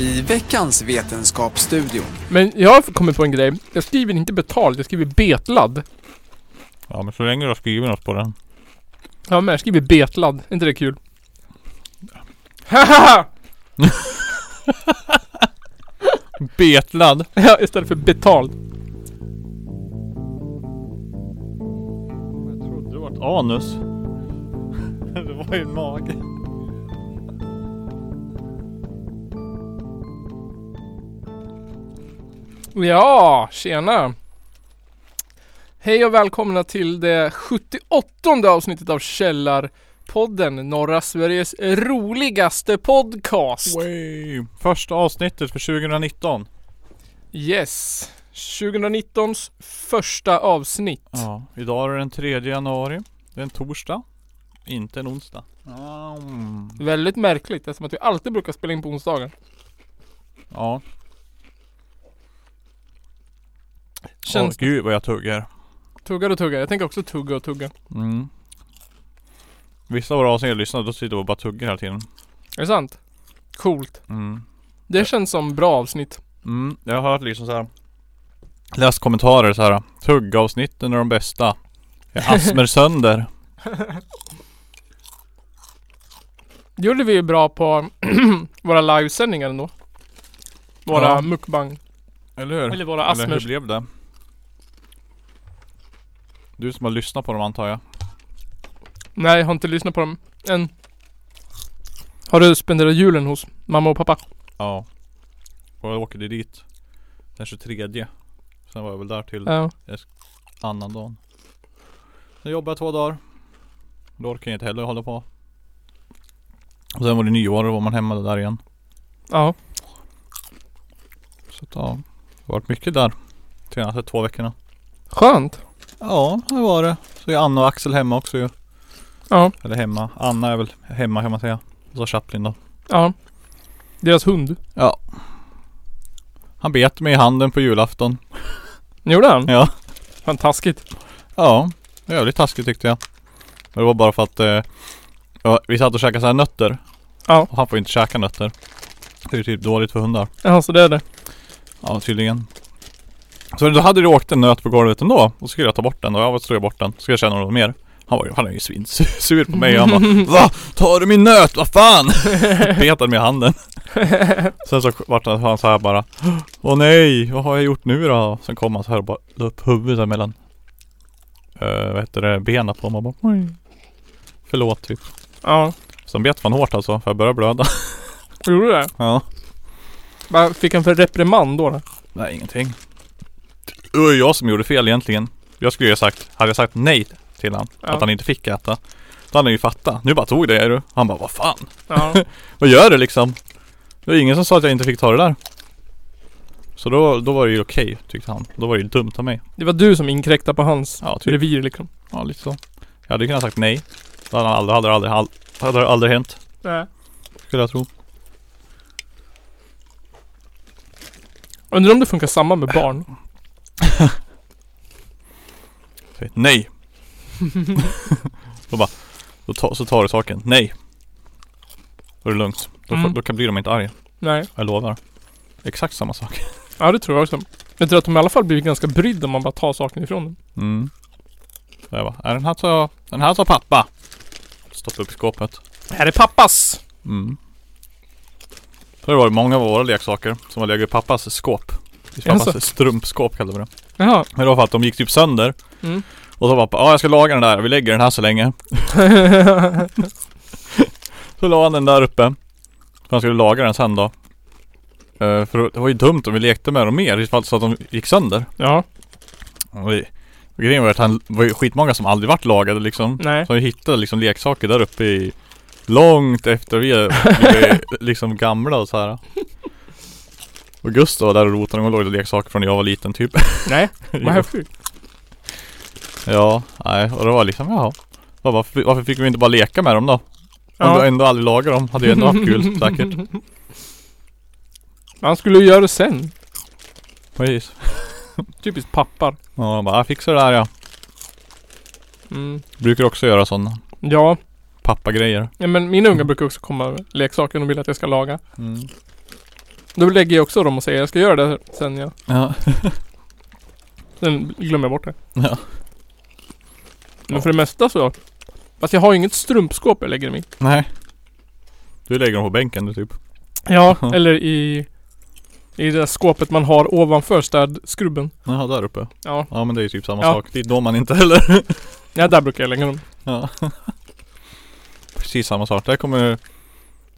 i veckans Vetenskapsstudion. Men jag har kommit på en grej. Jag skriver inte betald, jag skriver betlad. Ja, men så länge du har skrivit något på den. Ja men jag skriver betlad. Är inte det kul? Haha! Betlad. Ja, istället för betald. Jag trodde det var ett anus. det var ju en mage. Ja, tjena! Hej och välkomna till det 78 avsnittet av Källarpodden, norra Sveriges roligaste podcast. Way. Första avsnittet för 2019. Yes, 2019s första avsnitt. Ja, idag är det den 3 januari. Det är en torsdag. Inte en onsdag. Mm. Väldigt märkligt eftersom att vi alltid brukar spela in på onsdagen. Ja. Åh Känns, gud vad jag tuggar. tuggar och tuggar. Jag tänker också tugga och tugga. Mm. Vissa av våra avsnitt jag lyssnar då sitter vi och bara tuggar hela tiden. Är det sant? Coolt. Mm. Det känns som bra avsnitt. Mm, jag har hört liksom så här. Läst kommentarer så här. Tuggavsnitten är de bästa. Jag asmer sönder. Det gjorde vi ju bra på våra livesändningar ändå. Våra Ja. mukbang. Eller hur? Eller våra Eller hur astmers. blev det? Du som har lyssnat på dem antar jag. Nej, jag har inte lyssnat på dem än. Har du spenderat julen hos mamma och pappa? Ja. Och jag åkte dit. Den 23. Sen var jag väl där till Ja. annandagen. Sen jobbade jag två dagar. Då orkade jag inte heller hålla på. Och sen var det nyår och då var man hemma där igen. Ja. Så att, ja. Det har varit mycket där. Senaste två veckorna. Skönt. Ja, det var det. Så är Anna och Axel hemma också ju. Ja. Eller hemma. Anna är väl hemma kan man säga. Och så Chaplin då. Ja. Deras hund. Ja. Han bet mig i handen på julafton. Gjorde han? Ja. Fan taskigt. Ja. Jävligt taskigt tyckte jag. Men det var bara för att eh, ja, vi satt och käkade så här nötter. Ja. Och han får inte käka nötter. Det är typ dåligt för hundar. Ja, så det är det. Ja, tydligen. Så då hade det åkt en nöt på golvet ändå. Och så skulle jag ta bort den. Och jag slog bort den. Så skulle jag känna honom mer. Han var ju, han är ju svinsur på mig. Han bara Va? Tar du min nöt? Vad fan? Petade mig i handen. Sen så vart han han så här bara Åh nej, vad har jag gjort nu då? Sen kom han så här och bara la upp huvudet där mellan eh, Vad heter det? Benen på mig och bara Oj. Förlåt typ. Ja. Sen bet fan hårt alltså för jag började blöda. Gjorde du det? ja. Vad fick han för reprimand då? då? Nej, ingenting. Det var ju jag som gjorde fel egentligen. Jag skulle ju ha sagt, hade jag sagt nej till han Ja. att han inte fick äta. Då hade han ju fattat. Nu bara tog det är du. Han bara vad fan. Ja. Vad gör du liksom? Det var ingen som sa att jag inte fick ta det där. Så då, då var det ju okej tyckte han. Då var det ju dumt av mig. Det var du som inkräktade på hans Ja, typ. revir liksom. Ja, lite så. Jag hade kunnat sagt nej. Det hade aldrig, aldrig, aldrig, aldrig, hade aldrig hänt. Nej. Skulle jag tro. Undrar om det funkar samma med barn? Säg nej. då bara, då ta, så tar du saken. Nej. Då är det lugnt. Då, får- Mm. då kan bli de inte arga. Nej. Jag lovar. Exakt samma sak. Ja, det tror jag också. Jag tror att de i alla fall blir ganska brydda om man bara tar saken ifrån dem. Mm. Så jag bara, "Nej, den här tar, den här tar pappa. Stoppa upp i skåpet. Det här är pappas! Mm. Så det var många av våra leksaker som har legat i pappas skåp. I pappas Jaså? strumpskåp kallade vi det. Jaha. Men det var för att de gick typ sönder. Mm. Och så pappa, ja jag ska laga den där, vi lägger den här så länge. Så la han den där uppe. För han skulle laga den sen då. Eh, för det var ju dumt om vi lekte med dem mer ifall så att de gick sönder. ja. Och vi- och grejen var att han var ju skitmånga som aldrig varit lagade liksom. Nej. Så vi hittade liksom leksaker där uppe i Långt efter vi är, vi är liksom gamla och så här. Och Gustav var där och rotade och lagade leksaker från när jag var liten typ. Nej. Vad häftigt. ja, nej och det var liksom jaha. Ja, Varför, varför fick vi inte bara leka med dem då? Om Ja. du ändå aldrig lagar dem hade ju ändå haft kul säkert. Han skulle ju göra det sen. Precis. Typiskt pappar. Ja, de bara, jag fixar det här ja. Mm. Brukar också göra sådana Ja. pappagrejer. ja, men mina unga brukar också komma med leksaker och vill att jag ska laga. Mm. Då lägger jag också dem och säger jag ska göra det sen jag... Ja. Sen glömmer jag bort det. Ja. Men för det mesta så... Fast jag har ju inget strumpskåp jag lägger dem i. Nej. Du lägger dem på bänken du typ. Ja, eller i... I det där skåpet man har ovanför städskrubben. Jaha, där uppe. Ja. Ja men det är ju typ samma Ja. sak. Det är då man inte heller. ja, där brukar jag lägga dem. Ja. Precis samma sak. Där kommer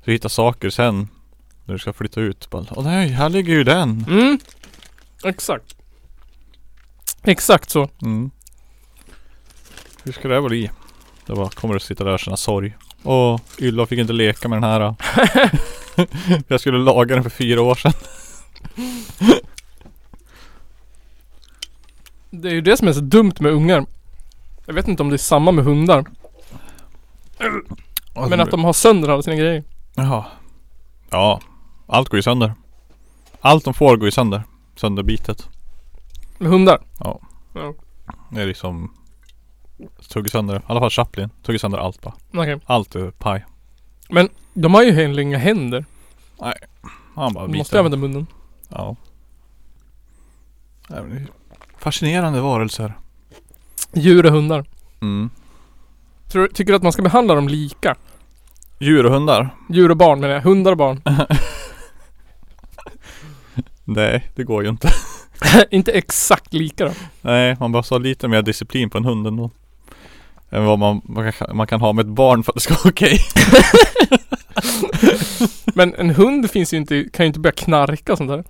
du hitta saker sen. När du ska flytta ut. Bara, Åh nej, här ligger ju den. Mm. Exakt. Exakt så. Mm. Hur ska det här bli? Det bara kommer att sitta där och känna sorg. Åh, Ylva fick inte leka med den här. jag skulle laga den för fyra år sedan. Det är ju det som är så dumt med ungar. Jag vet inte om det är samma med hundar. Men att de har sönder alla sina grejer. Jaha. Ja. Allt går ju sönder. Allt de får går ju sönder. Sönderbitet. Med hundar. Det är liksom... Tugg sönder. I alla fall Chaplin. Tugg sönder allt bara. Okej. Allt är paj. De har ju heller inga händer. Han bara De måste ju biter. använda munnen. Ja. Nej, men det är Fascinerande varelser. Djur och hundar. Mm. Tror, tycker du att man ska behandla dem lika? Djur och hundar? Djur och barn menar jag. Hundar och barn. Nej, det går ju inte. inte exakt lika då. Nej, man behöver ha lite mer disciplin på en hund ändå. Än vad man, man, kan, man kan ha med ett barn för att det ska vara okej. Men en hund finns ju inte, kan ju inte börja knarka och sånt där.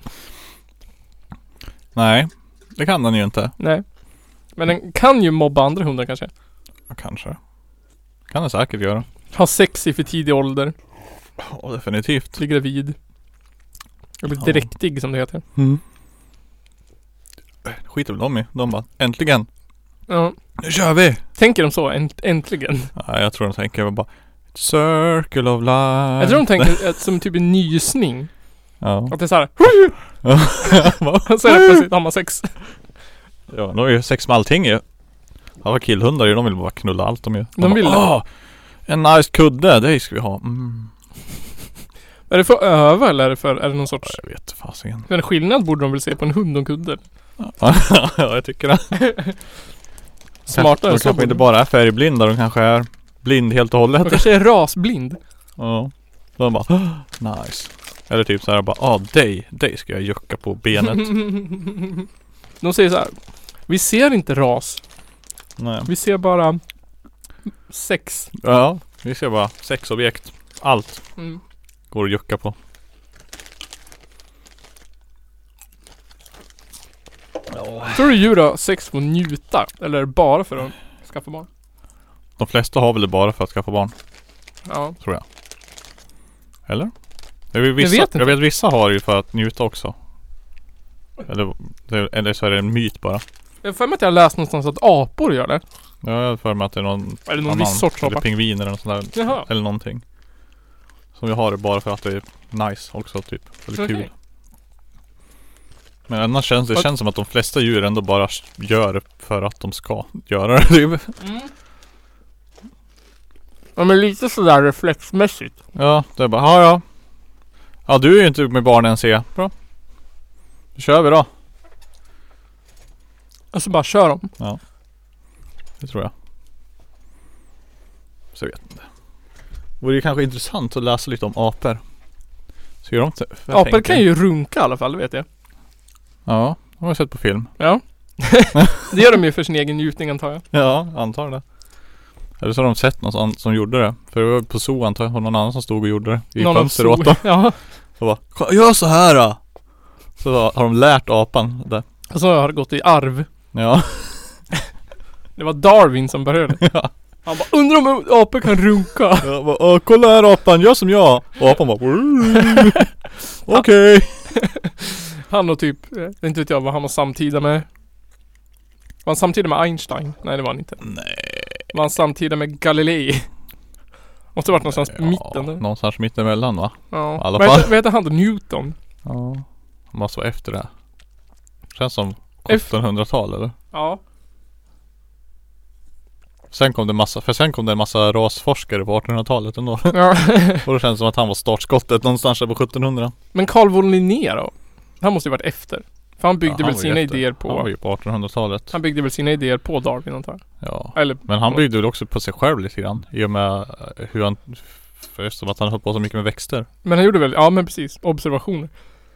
Nej, det kan den ju inte. Nej. Men den kan ju mobba andra hundar kanske. Ja, Kanske. Kan den säkert göra. Ha sex i för tidig ålder. Ja, definitivt. Bli gravid. Och bli Ja. dräktig som det heter. Mm. Skiter väl de i. De bara, äntligen! Ja. Nu kör vi! Tänker de så? Änt- äntligen. Nej, jag tror de tänker bara Circle of life. Jag tror de tänker att, som typ en nysning. Ja. Att det är såhär. Va? Och så är det plötsligt har man sex. ja, de har ju sex med allting ju. Alla killhundar ju, de vill bara knulla allt de gör. De bara, vill det. "Åh, En nice kudde, det ska vi ha. Mm. Är det för att öva eller är det för, är det någon Ja, sorts Jag vet fasiken. Men skillnad borde de väl se på en hund och en kudde? ja, jag tycker det. Smartare De än så kanske borde inte de. bara är färgblinda, de kanske är blind helt och De hållet. kanske är rasblind. Ja. De bara "Ah, nice. Eller typ såhär bara ah dig, dig ska jag jucka på benet. De säger så här. Vi ser inte ras. Nej. Vi ser bara sex. Ja, vi ser bara sexobjekt. Allt Mm. går att jucka på. Tror du djur har sex för att njuta? Eller är det bara för att skaffa barn? De flesta har väl det bara för att skaffa barn. Ja. Eller? Jag vet, vissa, vet jag, vet inte. jag vet vissa har ju för att njuta också. Eller, det- eller så är det en myt bara. Jag har för mig att jag har läst någonstans att apor gör det. Jag har för mig att det är någon Är det någon viss sorts eller apa? pingviner eller något sånt där. Jaha. Eller någonting. Som jag har det bara för att det är nice också typ. Eller Okej. kul. Men annars känns det Vad- känns som att de flesta djur ändå bara s- gör det för att de ska göra det typ. Mm. Ja men lite sådär reflexmässigt. Ja, det är bara ja ja. Ja du är ju inte med barnen ser jag. Bra. Då kör vi då. Och så bara kör de. Det tror jag. Så jag vet inte. Vore ju kanske intressant att läsa lite om apor. Så gör de inte. jag Apor tänker- kan ju runka i alla fall, det vet jag. Ja, de har jag sett på film. Ja. det gör de ju för sin egen njutning antar jag. Ja, jag antar det. Eller så har de sett någon som- som gjorde det. För det var på zoo antar jag. Det var någon annan som stod och gjorde det. I Någon av fönster zoo- åt dem. Ja. Och bara "Kolla, Gör så här då! Så har de lärt apan det. Och så har det gått i arv. Ja. Det var Darwin som började. Ja. Han bara undrar om apor kan runka. Jag bara, "Åh, kolla här apan, gör som jag! Och apan bara "Brrr." Okej. Han och typ, eh, inte vet jag vad han var samtida med. Var han samtida med Einstein? Nej det var han inte. Nej. Var han samtida med Galilei? Måste varit någonstans på mitten där. Någonstans mittemellan va? Ja. I alla Vad fall. heter- Vad heter han då? Newton? Ja. Han måste vara efter det. här. Känns som Efter- 1700-tal eller? Ja. Sen kom det massa, för sen kom det en massa rasforskare på 1800-talet ändå. Ja. Och det känns som att han var startskottet någonstans där på 1700. Men Carl von Linné då? Han måste ju varit efter. För han byggde Ja, han väl var ju sina efter. idéer Han var på... ju på 1800-talet. Han byggde väl sina idéer på Darwin antar jag. Ja. Eller... Men han byggde väl också på sig själv lite grann. I och med eh, hur han... För eftersom att han höll på så mycket med växter. Men han gjorde väl... Ja men precis. Observationer.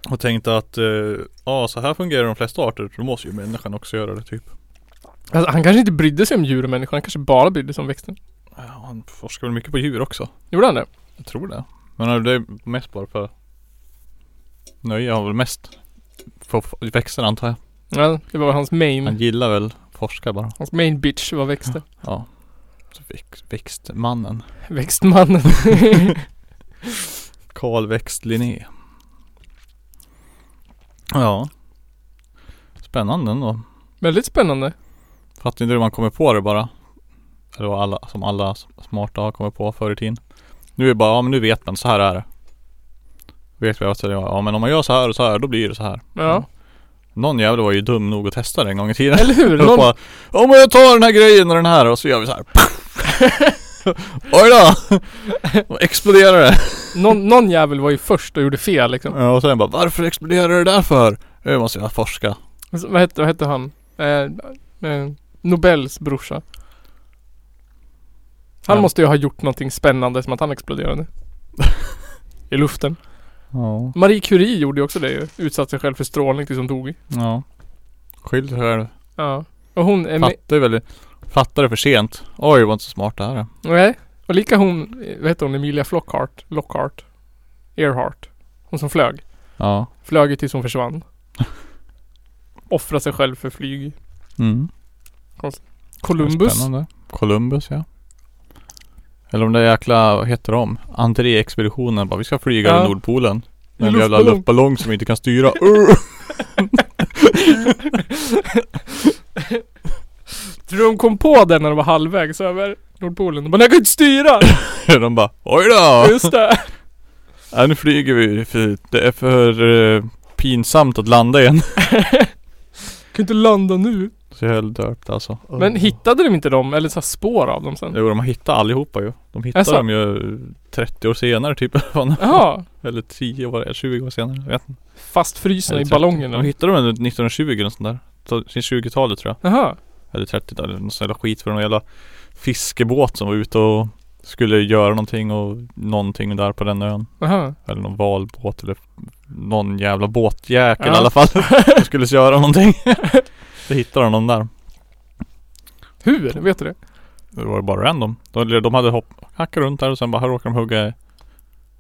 Och tänkte att, eh, ja så här fungerar de flesta arter. Då måste ju människan också göra det typ. Alltså, han kanske inte brydde sig om djur och människor. Han kanske bara brydde sig om växten. Ja, Han forskar väl mycket på djur också. Gjorde han det? Jag tror det. Men det är mest bara för nöje har väl mest på växter antar jag. Ja, det var hans main... Han gillar väl forska bara. Hans main bitch var växter. Ja. Så väx, växtmannen. Växtmannen. Karl Växt Linné. Ja. Spännande ändå. Väldigt spännande. Fattar inte hur man kommer på det bara. Det var alla, som alla smarta har kommit på förr i tiden. Nu är det bara, ja men nu vet man, så här är det. Vet vi att det är, ja men om man gör så här och så här, då blir det så här. Ja. Någon jävel var ju dum nog att testa det en gång i tiden. Eller hur? Någon... Någon, Bara, om jag tar den här grejen och den här och så gör vi så här. Oj då! Och exploderar det. någon, någon jävel var ju först och gjorde fel liksom. Ja, Och sen bara, varför exploderar det där för? Nu måste jag forska. Så, Alltså, Vad hette, vad hette han? Eh, eh, Nobels brorsa. Han Ja. måste ju ha gjort någonting spännande som att han exploderade. I luften. Ja. Marie Curie gjorde ju också det ju. Utsatte sig själv för strålning tills hon dog. Ja. Skyll dig själv. Ja. Och hon... Är med, Fattar ju väl. Fattar det för sent. Oj, var inte så smart det här. är. nej. Och lika hon... eh, Vad hette hon? Emilia Flockhart? Lockhart? Earhart? Hon som flög. Ja. Flög ju tills hon försvann. Offra sig själv för flyg. Mm. Columbus. Spännande. Columbus, ja. Eller om det jäkla, vad heter de? André-expeditionen bara, vi ska flyga Ja. över Nordpolen. Med en Luftballong. jävla luftballong som vi inte kan styra. Tror du de kom på den när de var halvvägs över Nordpolen? De bara, "Nej, jag kan inte styra! De bara, oj då! Just det! Ja, nu flyger vi för det är för eh, pinsamt att landa igen. Jag kan inte landa nu. Så jag höll döpt alltså. Men hittade de inte dem? Eller så här spår av dem sen? Jo, de har hittat allihopa ju. De hittade Jaså? dem ju 30 år senare typ. Fan. Jaha! Eller 10 år, 20 år senare. Jag vet inte. Fastfrusna i Eller 30. De ballongerna. hittade dem under 1920 eller något sånt där. Så- sin 20-talet tror jag. Jaha. Eller 30 eller någon sån jävla skit för någon jävla fiskebåt som var ute och skulle göra någonting och någonting där på den ön. Jaha. Eller någon valbåt eller någon jävla båtjäkel Ja. i alla fall. De skulle göra någonting. Så hittade de dem där. Hur? Vet du det? Det var bara random. De, de hade hopp, hackat runt där och sen bara, här råkar de hugga i-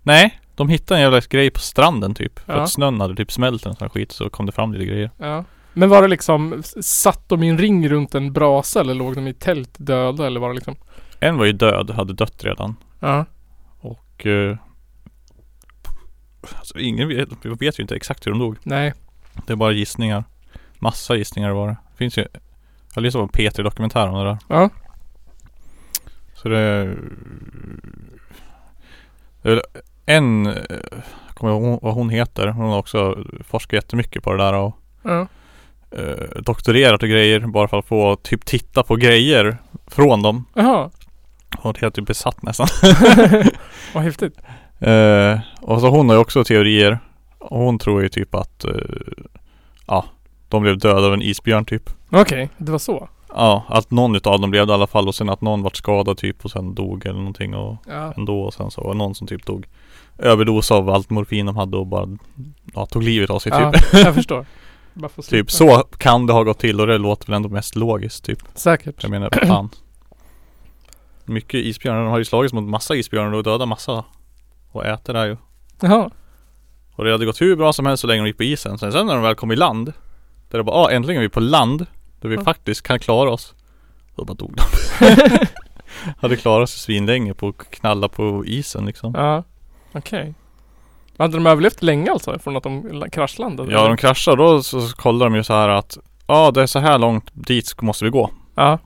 Nej, de hittade en jävla grej på stranden typ. För Ja. att snön hade typ smält eller sån här skit så kom det fram lite grejer. Ja. Men var det liksom, s- satt de i en ring runt en brasa eller låg de i tält döda eller var det liksom? En var ju död, hade dött redan. Ja. Och... Eh, alltså ingen vet, vi vet ju inte exakt hur de dog. Nej. Det är bara gissningar. Massa gissningar var det. Finns ju... Jag lyssnade på en P3 Dokumentär om det där. Ja. Så det... det är väl en... eh, Jag kommer ihåg vad hon heter. Hon har också forskat jättemycket på det där och Ja. eh, doktorerat och grejer. Bara för att få typ titta på grejer från dem. Jaha. Hon är helt typ besatt nästan. Vad häftigt. Eh, och så hon har ju också teorier. Och hon tror ju typ att... eh, ja, de blev döda av en isbjörn typ. Okej, det var så. Ja, att någon utav dem blev det i alla fall och sen att någon vart skadad typ och sen dog eller någonting och Ja. ändå och sen så var det någon som typ tog överdos av allt morfin de hade och bara ja, tog livet av sig Ja, typ. jag förstår. Bara få slippa. Typ så kan det ha gått till och det låter väl ändå mest logiskt typ. Säkert. Jag menar fan. Mycket isbjörnar, de har ju slagits mot massa isbjörnar och dödat massa. Och äter där ju. Jaha. Och det hade gått hur bra som helst så länge de gick på isen. Sen, sen när de väl kom i land. Där det bara, ah, äntligen är vi på land. Där vi Ja. faktiskt kan klara oss. Då bara dog de. hade klarat sig svinlänge på att knalla på isen liksom. Ja. Okej. Hade de överlevt länge alltså? Från att de la- kraschlandade? Ja, de kraschar då så, så kollar de ju så här att Ja, ah, det är så här långt dit sk- måste vi gå. Ja.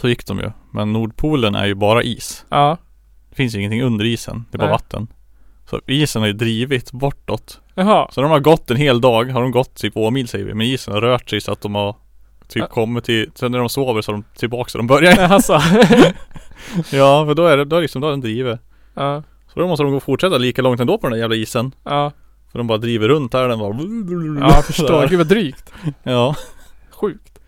Så gick de ju. Men Nordpolen är ju bara is. Ja. Det finns ju ingenting under isen. Det är bara Nej. vatten. Så isen har ju drivit bortåt. Jaha. Så de har gått en hel dag, har de gått typ två mil säger vi, men isen har rört sig så att de har typ Ja. kommer till, sen när de sover så är de tillbaka så de börjar Alltså. Ja för då är det, då är det liksom, då har den driver ja. Så då måste de gå och fortsätta lika långt ändå på den där jävla isen Ja. För de bara driver runt där den bara Ja, jag förstår. Gud vad drygt. Ja Sjukt.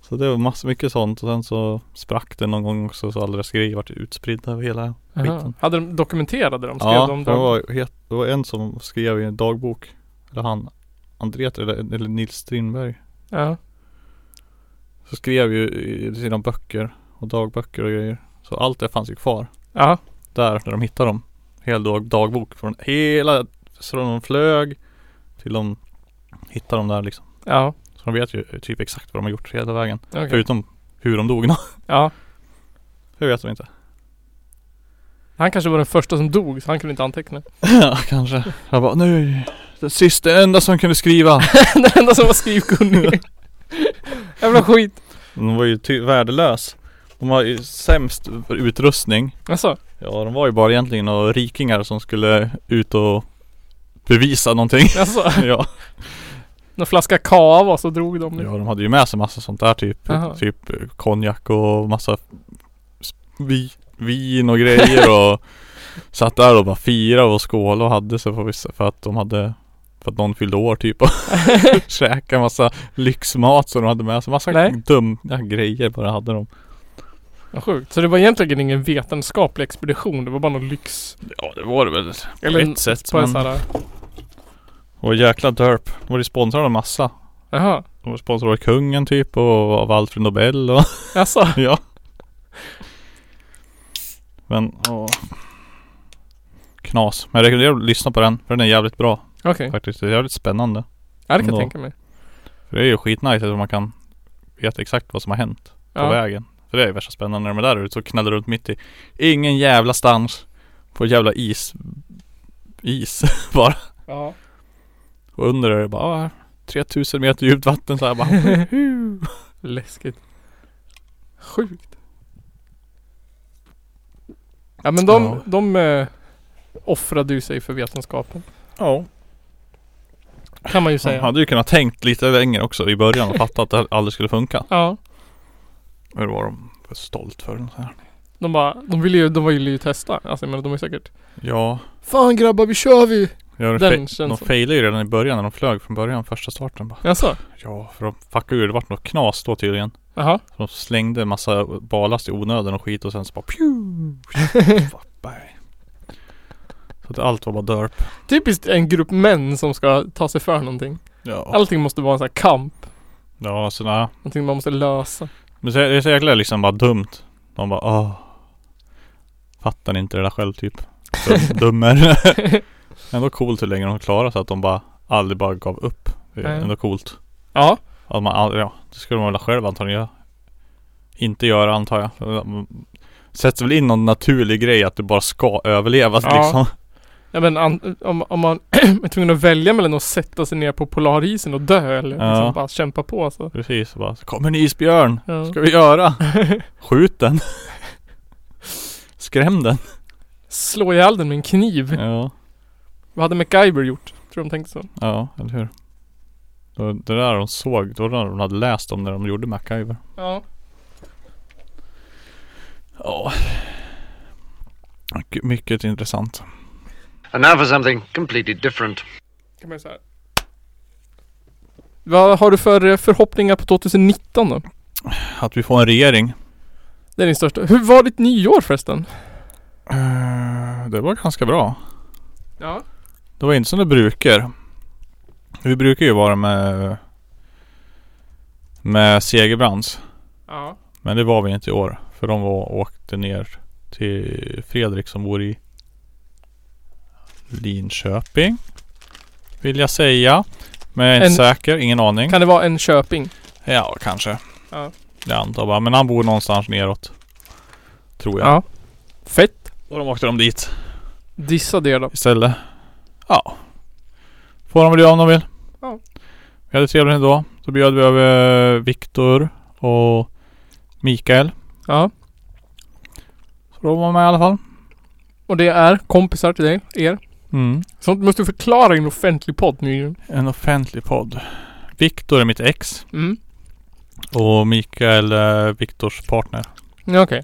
Så det var massor, mycket sånt och sen så sprack det någon gång också så all deras grejer vart utspridd över hela Jaha. skiten Hade de dokumenterade de? Skrev Ja, de det dem? var, het, det var en som skrev i en dagbok Eller han Andret eller, eller Nils Strindberg Ja. Så skrev ju i sina böcker och dagböcker och grejer Så allt det fanns ju kvar Ja. där när de hittade dem. Hel dag, dagbok från hela, så de flög till de hittade dem där liksom. Ja. Så de vet ju typ exakt vad de har gjort hela vägen. Okej. Förutom hur de dog. Ja. det vet de inte. Han kanske var den första som dog så han kunde inte anteckna. ja, kanske. Jag bara, nu, den sista, den enda som kunde skriva. den enda som var skrivkunnig. Jävla skit. De var ju ty- värdelös. De har ju sämst utrustning. Alltså. Ja, de var ju bara egentligen några rikingar som skulle ut och bevisa någonting. Alltså. ja. Någon flaska kava och så drog de. Ja, de hade ju med sig massa sånt där typ. Mm. Jaha. Typ eh, konjak och massa s- vi, vin och grejer och satt där och bara firade och skålade och hade sig för, vissa, för att de hade för att någon fyllde år typ och käkade massa lyxmat som de hade med sig. Massa Nej. dumma grejer bara hade de. Ja, sjukt. Så det var egentligen ingen vetenskaplig expedition. Det var bara någon lyx... Ja det var det väl på Eller ett sätt. På en sån men- här... Och jäkla derp. De var ju sponsrade av massa. Jaha. De var sponsrade av kungen typ och av Alfred Nobel och Alltså. Ja. Men, åh. Knas. Men jag rekommenderar att lyssna på den. För den är jävligt bra Okej. faktiskt. Det är jävligt spännande. Ja, det kan jag Ändå. tänka mig. För det är ju skitnice att man kan veta exakt vad som har hänt på Ja. vägen. För det är ju värsta spännande när de är där ute och knallar runt mitt i. Ingen jävla stans. På jävla is. Is bara. Ja. Och under är det bara ah, 3000 meter djupt vatten så här bara. Läskigt. Sjukt. Ja men de, Ja. de eh, offrade ju sig för vetenskapen. Ja. Kan man ju Man säga. hade ju kunnat tänkt lite längre också i början och fattat att det aldrig skulle funka. Ja. Hur var de för stolt för den här? De bara, de ville ju, de ville ju testa. Alltså jag menar de är säkert Ja, Fan grabbar vi kör vi! ja Den de, fe- känns de så. failade ju redan i början när de flög från början, första starten bara. Jaså? Ja, för de fuckade ju. Det vart något knas då tydligen. Jaha? Så de slängde en massa balast i onödan och skit och sen så bara pju, fuck, bang. Så att allt var bara derp. Typiskt en grupp män som ska ta sig för någonting. Ja. Allting måste vara en sån här kamp. Ja, så nej. Någonting man måste lösa. Men så- det är så jäkla liksom bara dumt. De bara åh. Fattar ni inte det där själv typ. Dum- Dummer. Ändå coolt hur länge de klarade sig att de bara aldrig bara gav upp. Det är Nej. ändå coolt. Ja. Att man aldrig, ja, det skulle man väl själv antagligen göra. Inte göra antar jag. Sätts väl in någon naturlig grej att du bara ska överleva Ja. liksom. Ja men an, om, om man är tvungen att välja mellan att sätta sig ner på polarisen och dö eller Ja. liksom bara kämpa på så. Precis, så bara, kommer en isbjörn. Ja. Ska vi göra? Skjut den. Skräm den. Slå ihjäl den med en kniv. Ja, Vad hade MacGyver gjort? Tror de tänkte så? ja eller hur. Det var det där de såg, det var det de hade läst om när de gjorde MacGyver. Ja. Ja. Mycket- Mycket intressant. And now for something completely different. Kan man ju säga. Vad har du för eh, förhoppningar på 2019 då? Att vi får en regering. Det är din största. Hur var ditt nyår förresten? Eh, Det var ganska bra. Ja. Det var inte som det brukar. Vi brukar ju vara med med Segerbrands. Ja. Men det var vi inte i år. För de var åkte ner till Fredrik som bor i Linköping. Vill jag säga. Men jag är inte säker. Ingen aning. Kan det vara en Köping? Ja, kanske. Ja. Jag antar bara. Men han bor någonstans neråt. Tror jag. Ja. Fett. Och de åkte de dit Dissa det då. istället. Ja. Får de väl göra om de vill. Ja. Vi hade trevligt ändå. Så bjöd vi över eh, Viktor och Mikael. Ja. Så de var med i alla fall. Och det är kompisar till dig, er. Mm. Sånt måste du förklara i en offentlig podd nu. En offentlig podd. Viktor är mitt ex Mm. och Mikael är Viktors partner. Ja, okej.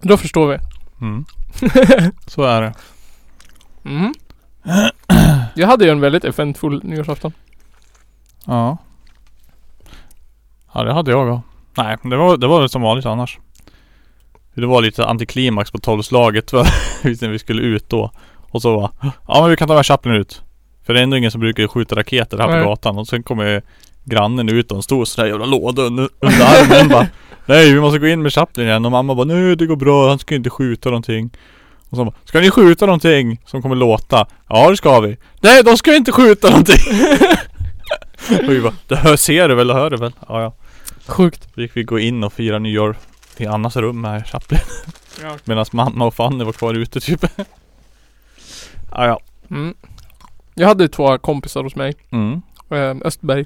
Då förstår vi. Mm. Så är det. Mm. Jag hade ju en väldigt eventfull nyårsafton. Ja. Ja, det hade jag också. Nej, men det var, det var väl som vanligt annars. Det var lite antiklimax på tolvslaget va? när vi skulle ut då. Och så bara, ja men vi kan ta med Chaplin ut. För det är ändå ingen som brukar skjuta raketer här Nej. på gatan. Och sen kommer grannen ut och en stor sån där jävla låda under, under armen bara. Nej vi måste gå in med Chaplin igen. Och mamma bara, nej det går bra, han ska inte skjuta någonting. Och så bara, ska ni skjuta någonting som kommer låta? Ja det ska vi. Nej de ska inte skjuta någonting. Och vi bara, det hör, ser du väl och hör du väl? Ja, ja. Sjukt. Då gick vi gå in och fira nyår i Annas rum här i Chaplin. Ja. Medan mamma och Fanny var kvar ute typ. ja, ja. Mm. Jag hade ju två kompisar hos mig. Mm. Eh, Östberg.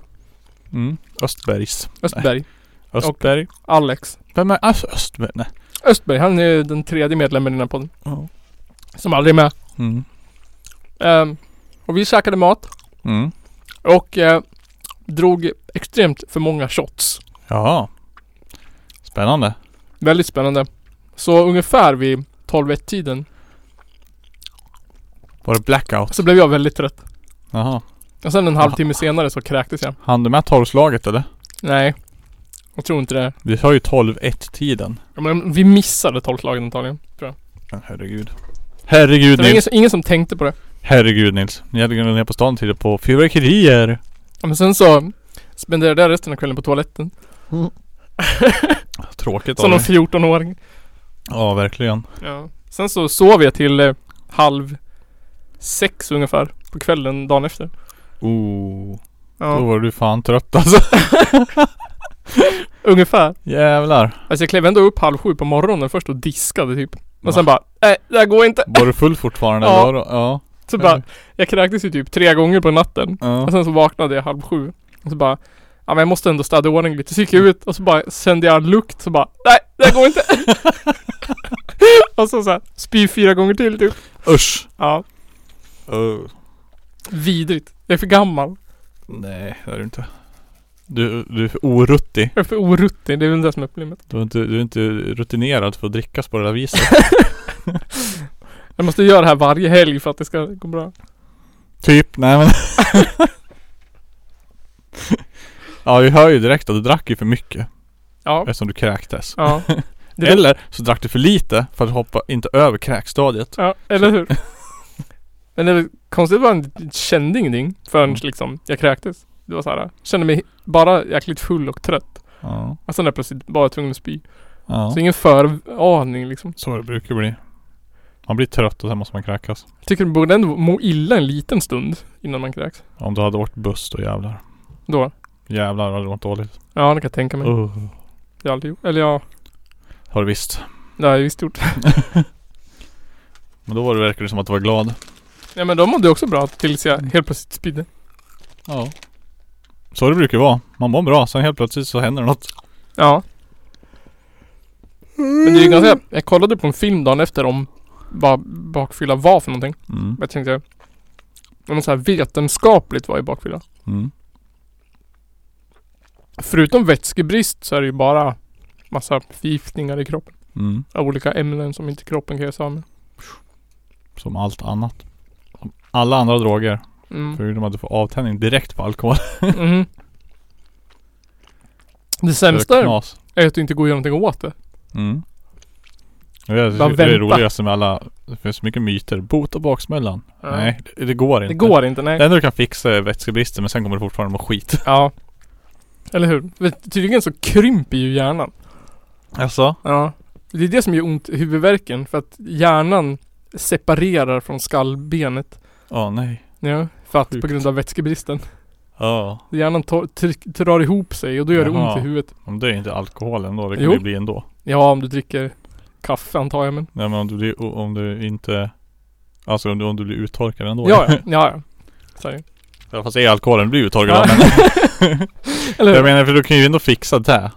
Mm. Östbergs. Östberg. Östberg. Alex. Vem är alltså, Östberg? Nej. Östberg, han är ju den tredje medlemmen i den här podden. Ja. Som aldrig är med. Mm. Ehm, och vi käkade mat. Mm. Och eh, drog extremt för många shots. Ja. Spännande. Väldigt spännande. Så ungefär vid 12-1-tiden Var det blackout? så blev jag väldigt trött. Jaha. Och sen en halvtimme senare så kräktes jag. Hann du med tolvslaget eller? Nej. Jag tror inte det. Vi har ju 12-1 tiden. Ja, Men vi missade tolvslagen antagligen. Tror jag. Men herregud. Herregud Det var ingen, Nils. som- ingen som tänkte på det. Herregud Nils. Ni hade gått ner på stan tidigare på fyrverkerier. Ja, Men sen så spenderade jag resten av kvällen på toaletten. Tråkigt av Som någon dig. 14-åring. Ja, verkligen. Ja. Sen så sov jag till eh, halv sex ungefär på kvällen dagen efter. Oh. Då Ja, var du fan trött alltså. ungefär. Jävlar. Alltså jag klev ändå upp halv sju på morgonen först och diskade typ. Och sen bara, nej det här går inte. Var du full fortfarande? Ja. eller var du- ja. Så bara, jag kräktes ju typ tre gånger på natten. ja. Och sen så vaknade jag halv sju. Och så bara, ja men jag måste ändå städa i ordning lite. Så gick jag ut och så bara kände jag en lukt. Så bara, nej det här går inte. och så såhär, spy fyra gånger till typ. Usch. Ja, Uh. vidrigt. Jag är för gammal. Nej, det är du inte. Du, du är för oruttig. Jag är för oruttig. Det är väl det som är problemet. Du är inte, du är inte rutinerad för att drickas på det där viset. Jag måste göra det här varje helg för att det ska gå bra. typ, nej men. ja, vi hör ju direkt att du drack ju för mycket Ja. eftersom du kräktes. Ja. Det- Eller så drack du för lite för att hoppa inte över kräkstadiet. Ja, eller hur? Men det är väl konstigt att man inte kände ingenting förrän liksom jag kräktes. Det var så här, kände mig bara jäkligt full och trött. Ja. Och sen är jag plötsligt bara tvungen att spy. ja. Så ingen föraning liksom. Så det brukar bli. Man blir trött och sen måste man kräkas. Tycker du borde ändå må illa en liten stund innan man kräks? Om du hade åkt buss då jävlar. Då? Jävlar vad det var dåligt. Ja, det kan jag tänka mig. Uh. Jag har aldrig gjort. Eller ja, Har du visst. det har jag visst gjort. Men då var det verkligen som att du var glad. ja men de mådde också bra tills jag helt plötsligt spydde. Ja. Så det brukar vara. Man mår bra, sen helt plötsligt så händer något. Ja. Men det är ju ganska... Jag kollade på en film dagen efter om vad bakfylla var för någonting. Mm. Jag tänkte om så här vetenskapligt vad är bakfylla? Mm. Förutom vätskebrist så är det ju bara massa förgiftningar i kroppen. Mm. Av olika ämnen som inte kroppen kan göra sig av med. Som allt annat. Som alla andra droger. Mm. Förutom att du får avtändning direkt på alkohol. Mhm. Det Det sämsta är knas. är att det inte går att göra någonting åt det. Mm. Jag vet, Bara det är det vänta. roligaste med alla. Det finns så mycket myter. Bota baksmällan. Ja. Nej, det, det går inte. Det går inte, nej. Det enda du kan fixa är vätskebristen men sen kommer du fortfarande må skit. Ja. Eller hur? Vet- Tydligen så krymper ju hjärnan. Alltså? Ja. Det är det som gör ont i huvudvärken för att hjärnan separerar från skallbenet. Ja, nej. Ja, för att på Sjukt. grund av vätskebristen. Ja. Hjärnan tar, tryck- drar ihop sig och då gör det Jaha. ont i huvudet. Men det är inte alkohol ändå. Det kan Jo. det bli ändå. Ja, om du dricker kaffe antar jag men. Nej men om du blir, om du inte Alltså om du, om du blir uttorkad ändå Ja, ja, ja. ja. Sorry. ja. Fast är alkoholen blir uttorkad Ja. ja. men Eller Jag hur? menar för du kan ju ändå fixa det Ja,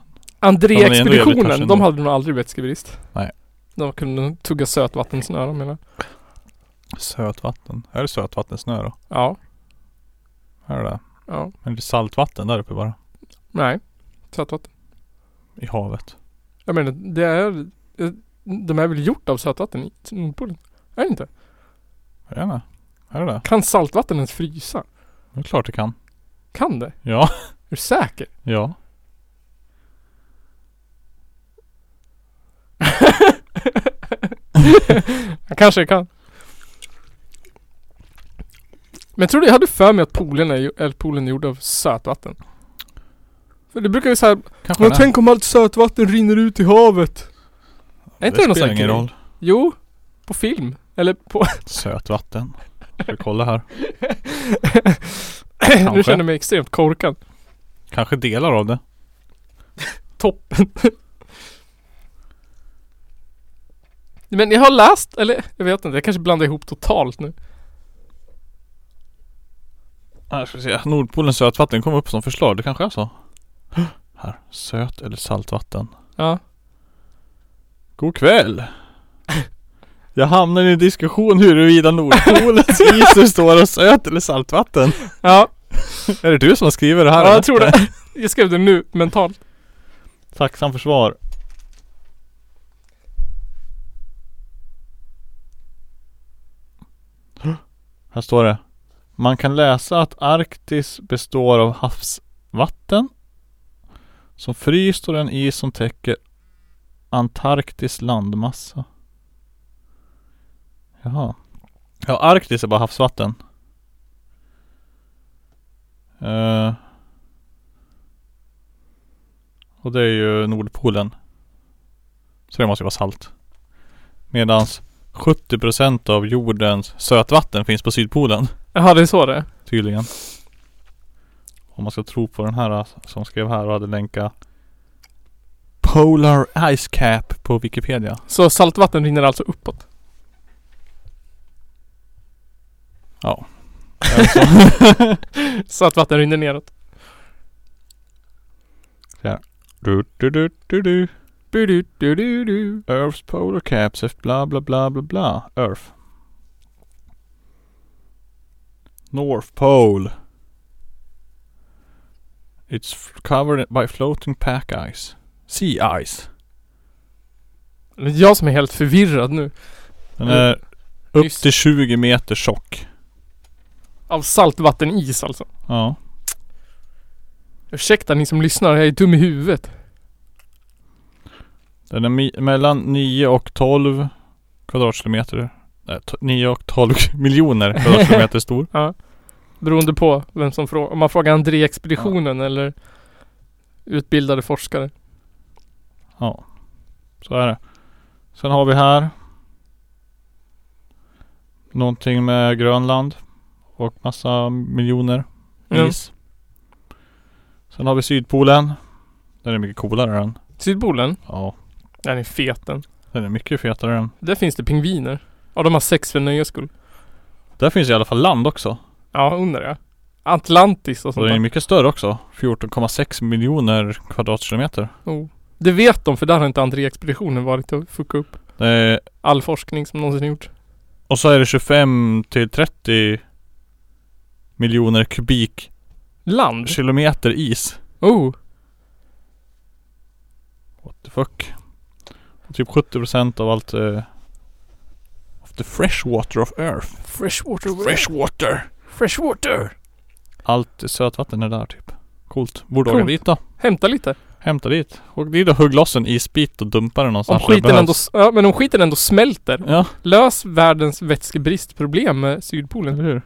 men det är ändå jävligt kanske André-expeditionen, ändå. de hade nog aldrig vätskebrist. Nej. De kunde nog tugga sötvattensnöre menar jag. Sötvatten Är det sötvattensnö då? Ja. Är det det? Ja. Men det är saltvatten där uppe bara. Nej. Sötvatten. I havet. Jag menar, det är... eh, De är väl gjort av sötvatten i Nordpolen? Är det inte? Är det det? Är det det? Kan saltvatten ens frysa? Det är klart det kan. Kan det? Ja. Är du säker? Ja. Jag kanske kan. Men tror du, jag hade för mig att poolen är, ju- eller poolen är gjord av sötvatten. För det brukar ju såhär, Kanske men det. tänk om allt sötvatten rinner ut i havet. Är inte det någon spelar sån ingen grej? roll. Jo, på film. Eller på... Sötvatten. Ska vi kolla här. nu känner jag mig extremt korkad. Kanske delar av det. Toppen. Men jag har läst, eller jag vet inte, jag kanske blandar ihop totalt nu. Här ska vi se. Nordpolens sötvatten kom upp som förslag. Det kanske är så. Här. Söt eller saltvatten. Ja. God kväll. Jag hamnar i en diskussion huruvida Nordpolens is består av söt eller saltvatten. Ja, Är det du som har skrivit det här? ja eller? jag tror det. Jag skrev det nu, mentalt. Tacksam för svar. Här står det. Man kan läsa att Arktis består av havsvatten som fryst och den is som täcker Antarktis landmassa. Jaha. Ja, Arktis är bara havsvatten. Eh, och det är ju Nordpolen. Så det måste ju vara salt. Medans 70% av jordens sötvatten finns på Sydpolen. Jaha, det är så det är. Tydligen. Om man ska tro på den här eh, som skrev här och hade länkat Polar Ice Cap på Wikipedia. Så saltvatten rinner alltså uppåt. Är det så? Saltvatten rinner neråt. du, du, du, du, du. Du, du, du, du, du. Earth's polar caps have bla bla bla bla bla. Earth. North Pole. It's f- covered by floating pack ice. Sea ice. Det är Jag som är helt förvirrad nu. Den Mm. är upp Just- till 20 meter tjock. Av saltvattenis alltså. Ja. Ursäkta ni som lyssnar, jag är dum i huvudet. Den är mi- mellan 9 och 12 kvadratkilometer. Nej, to- 9 och 12 miljoner kvadratkilometer stor. Beroende på vem som frågar. Om man frågar André-expeditionen eller utbildade forskare. Ja. Så är det. Sen har vi här. Någonting med Grönland. Och massa miljoner Ja. is. Sen har vi Sydpolen. Den är mycket coolare än. Sydpolen, Ja. den är feten. Den är mycket fetare än. Där finns det pingviner. Ja, de har sex för nöjes skull. Där finns i alla fall land också. Ja, undrar jag. Atlantis och Och sånt den är där. mycket större också. 14,6 miljoner kvadratkilometer. Oh. Det vet de, för där har inte André-expeditionen varit och fuckat upp Det är, all forskning som någonsin gjorts. Eh, och så är det 25 till 30 miljoner kubikkilometer Land? is. Oh! What the fuck? Och typ 70% av allt... eh, of the fresh water of earth. Freshwater. Freshwater! Freshwater. Allt sötvatten är där typ. Coolt. Borde åka Coolt. dit då. Hämta lite. Hämta dit. Åk dit och hugg loss en isbit och dumpa den Om någonstans. där det skiten, ändå, behövs. ja, men om skiten ändå smälter. Ja, Lös världens vätskebristproblem med Sydpolen. eller hur?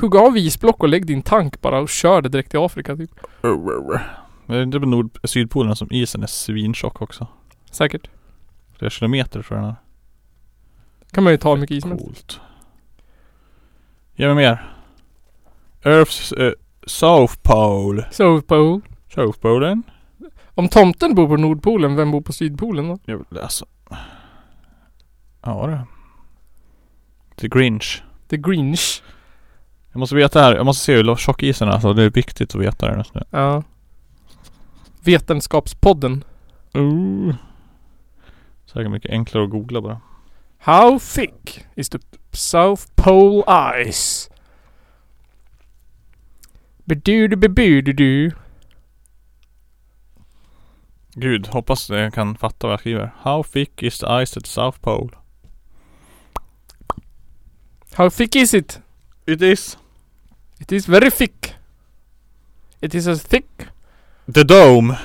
Hugg av isblock och lägg din tank bara och kör det direkt till Afrika typ. Men Det är inte på nord- sydpolen som isen är svintjock också. Säkert. Flera kilometer tror jag den är. Kan man ju ta hur mycket is som helst. Coolt. Ge mig mer. Earths eh, South Pole. South Pole. South Polen. Om tomten bor på Nordpolen, vem bor på Sydpolen då? Jag vill läsa. alltså. Ja det. The Grinch. The Grinch. Jag måste veta här. Jag måste se hur tjock isen är. Alltså, det är viktigt att veta det nu. Ja. Vetenskapspodden. Ooh. Säkert mycket enklare att googla bara. How thick is the South Pole ice? Bedudu bebududu. Gud, hoppas jag kan fatta vad jag skriver. How thick is the ice at the South Pole? How thick is it? It is. It is very thick. It is as thick. The dome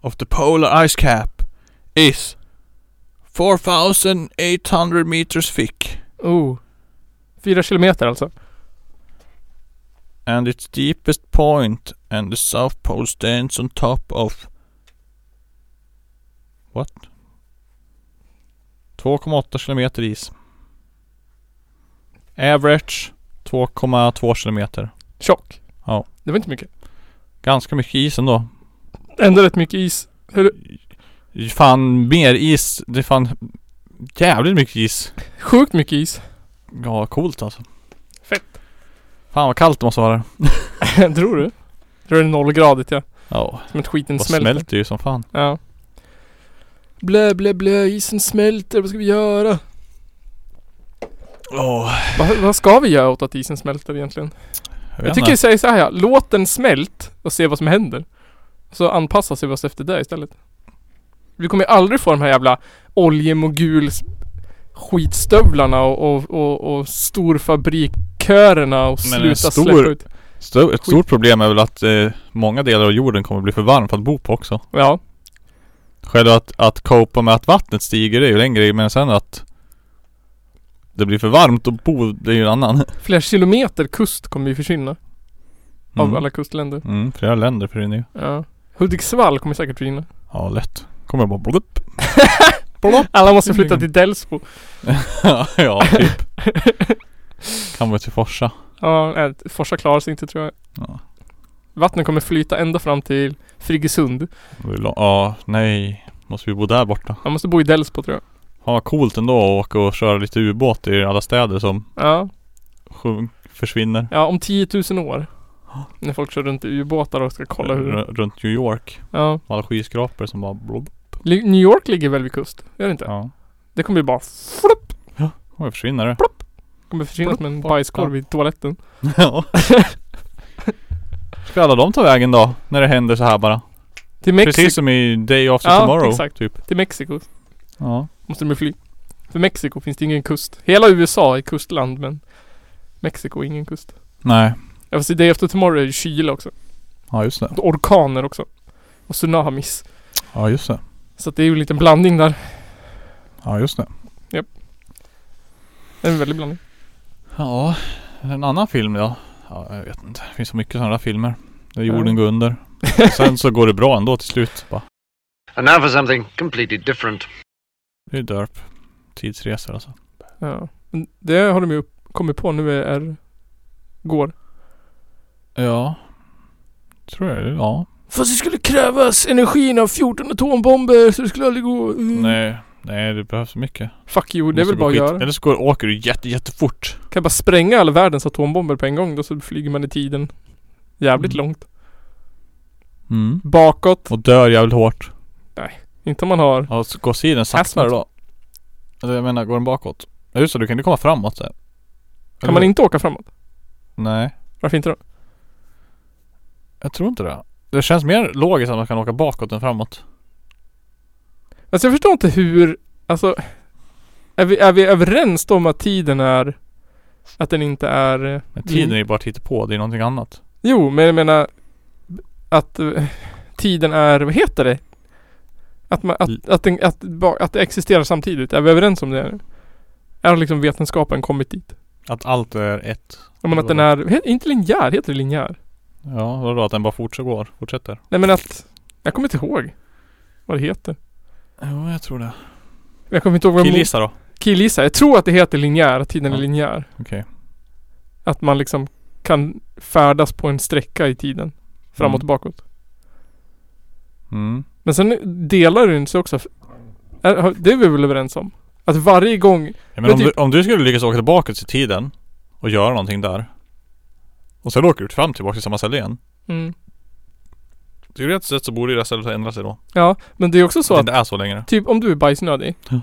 of the polar ice cap is 4800 meters thick. Oh. Fyra kilometer alltså. and its deepest point and the south pole stands on top of What? 2,8 kilometer is. Average 2,2 kilometer. Tjock. Ja. Det var inte mycket. Ganska mycket is ändå. Ändå rätt mycket is. Fan mer is. Det är fan jävligt mycket is. Sjukt mycket is. Ja, coolt alltså. Fett. Fan vad kallt det måste vara där. Tror du? Tror det är nollgradigt ja. Ja, Som att skiten vad smälter. smälter ju som fan. Ja. Blä, blä, blä. Isen smälter. Vad ska vi göra? Åh, Va, vad ska vi göra åt att isen smälter egentligen? jag, Jag vet tycker inte. vi säger så här. ja. Låt den smält och se vad som händer. Så anpassar sig vi oss efter det istället. Vi kommer ju aldrig få de här jävla oljemogul skitstövlarna och, och, och, och storfabrikkörerna och Men en sluta stor- släppa ut. Stö- ett stort problem är väl att eh, många delar av jorden kommer bli för varm för att bo på också. Ja, Själva att, att copa med att vattnet stiger det är ju en grej men sen att det blir för varmt att bo det är ju en annan. flera kilometer kust kommer ju försvinna. Av Mm. alla kustländer. Mm, flera länder försvinner ju. Ja. Hudiksvall kommer säkert försvinna. Ja, lätt. Kommer bara blupp. Alla måste Mm. flytta till Delsbo. ja, typ. kan vara till Forsa. Ja, nej, Forsa klarar sig inte tror jag. Ja. Vattnet kommer flyta ända fram till Friggesund. Det är lång- Ja, nej. Måste vi bo där borta? Man måste bo i Delsbo tror jag. Ja, vad coolt ändå att åka och köra lite ubåt i alla städer som Ja, sjunk- försvinner. ja om 10 000 år. När folk kör runt i ubåtar och ska kolla hur... R- runt New York. Ja. Alla skyskrapor som bara blubb. Li- New York ligger väl vid kust? Gör det inte? Ja. Det kommer ju bara flopp. Kommer försvinna det. Kommer försvinna som en bajskorv i toaletten. Ja. Ska alla de ta vägen då? När det händer så här bara? Till, Mexi- Precis som i Day After Ja, Tomorrow. exakt. Typ. till Mexiko Ja. måste de ju fly. För Mexiko finns det ingen kust. Hela USA är kustland men Mexiko är ingen kust. Nej. Ja fast i Day After Tomorrow är det kyla också. Ja just det. Och orkaner också. Och tsunamis. Ja just det. Så att det är ju en liten blandning där. Ja just det. Det är En väldig blandning. Ja. En annan film då? Ja jag vet inte. Det finns så mycket sådana filmer. Där jorden går under. Och sen så går det bra ändå till slut. Bara. And now for something completely different. Det är derp. Tidsresor alltså. Ja. Men Det har de ju upp- kommit på nu är, är går. Ja. Tror jag det. Ja. Fast det skulle krävas energin av 14 atombomber så det skulle aldrig gå. Mm. Nej. Nej det behövs mycket. Fuck you, det är Måste väl gå bara att skit- göra. Eller så går, åker du jätte, jättefort. Kan jag bara spränga all världens atombomber på en gång då så flyger man i tiden. Jävligt Mm. långt. Mm. Bakåt. Och dör jävligt hårt. Inte om man har... Ja, så går sidan saktare då? Eller jag menar, går den bakåt? Ja just det, du kan inte komma framåt sen. Kan man inte åka framåt? Nej, Varför inte då? jag tror inte det. Det känns mer logiskt att man kan åka bakåt än framåt. Alltså jag förstår inte hur... Alltså... Är vi, är vi överens om att tiden är... Att den inte är... eh, Men tiden Mm. är ju bara att på, det är någonting annat. Jo, men jag menar att eh, tiden är, vad heter det? Att, man, L- att, att, den, att, ba- att det existerar samtidigt. Är vi överens om det? nu? Är liksom vetenskapen kommit dit? Att allt är ett. Jag menar att den är, he- inte linjär, heter det linjär? Ja, vadå att den bara fortsätter går, fortsätter? Nej men att, jag kommer inte ihåg vad det heter. Ja, jag tror det. Jag kommer inte ihåg vad Killgissa då. Killgissa. Jag tror att det heter linjär, att tiden är Ja. linjär. Okej. Att man liksom kan färdas på en sträcka i tiden. Framåt och Mm. bakåt. Mm. Men sen delar den sig också. Är- har- Det är vi väl överens om? Att varje gång Ja, Men men om, typ- du, om du skulle lyckas åka tillbaka till tiden och göra någonting där. Och sen åker du fram tillbaka till samma ställe igen. Teoretiskt sett så borde ju det här stället ändra sig då. Ja, men det är också så att det att inte är så längre. typ om du är bajsnödig. Ja.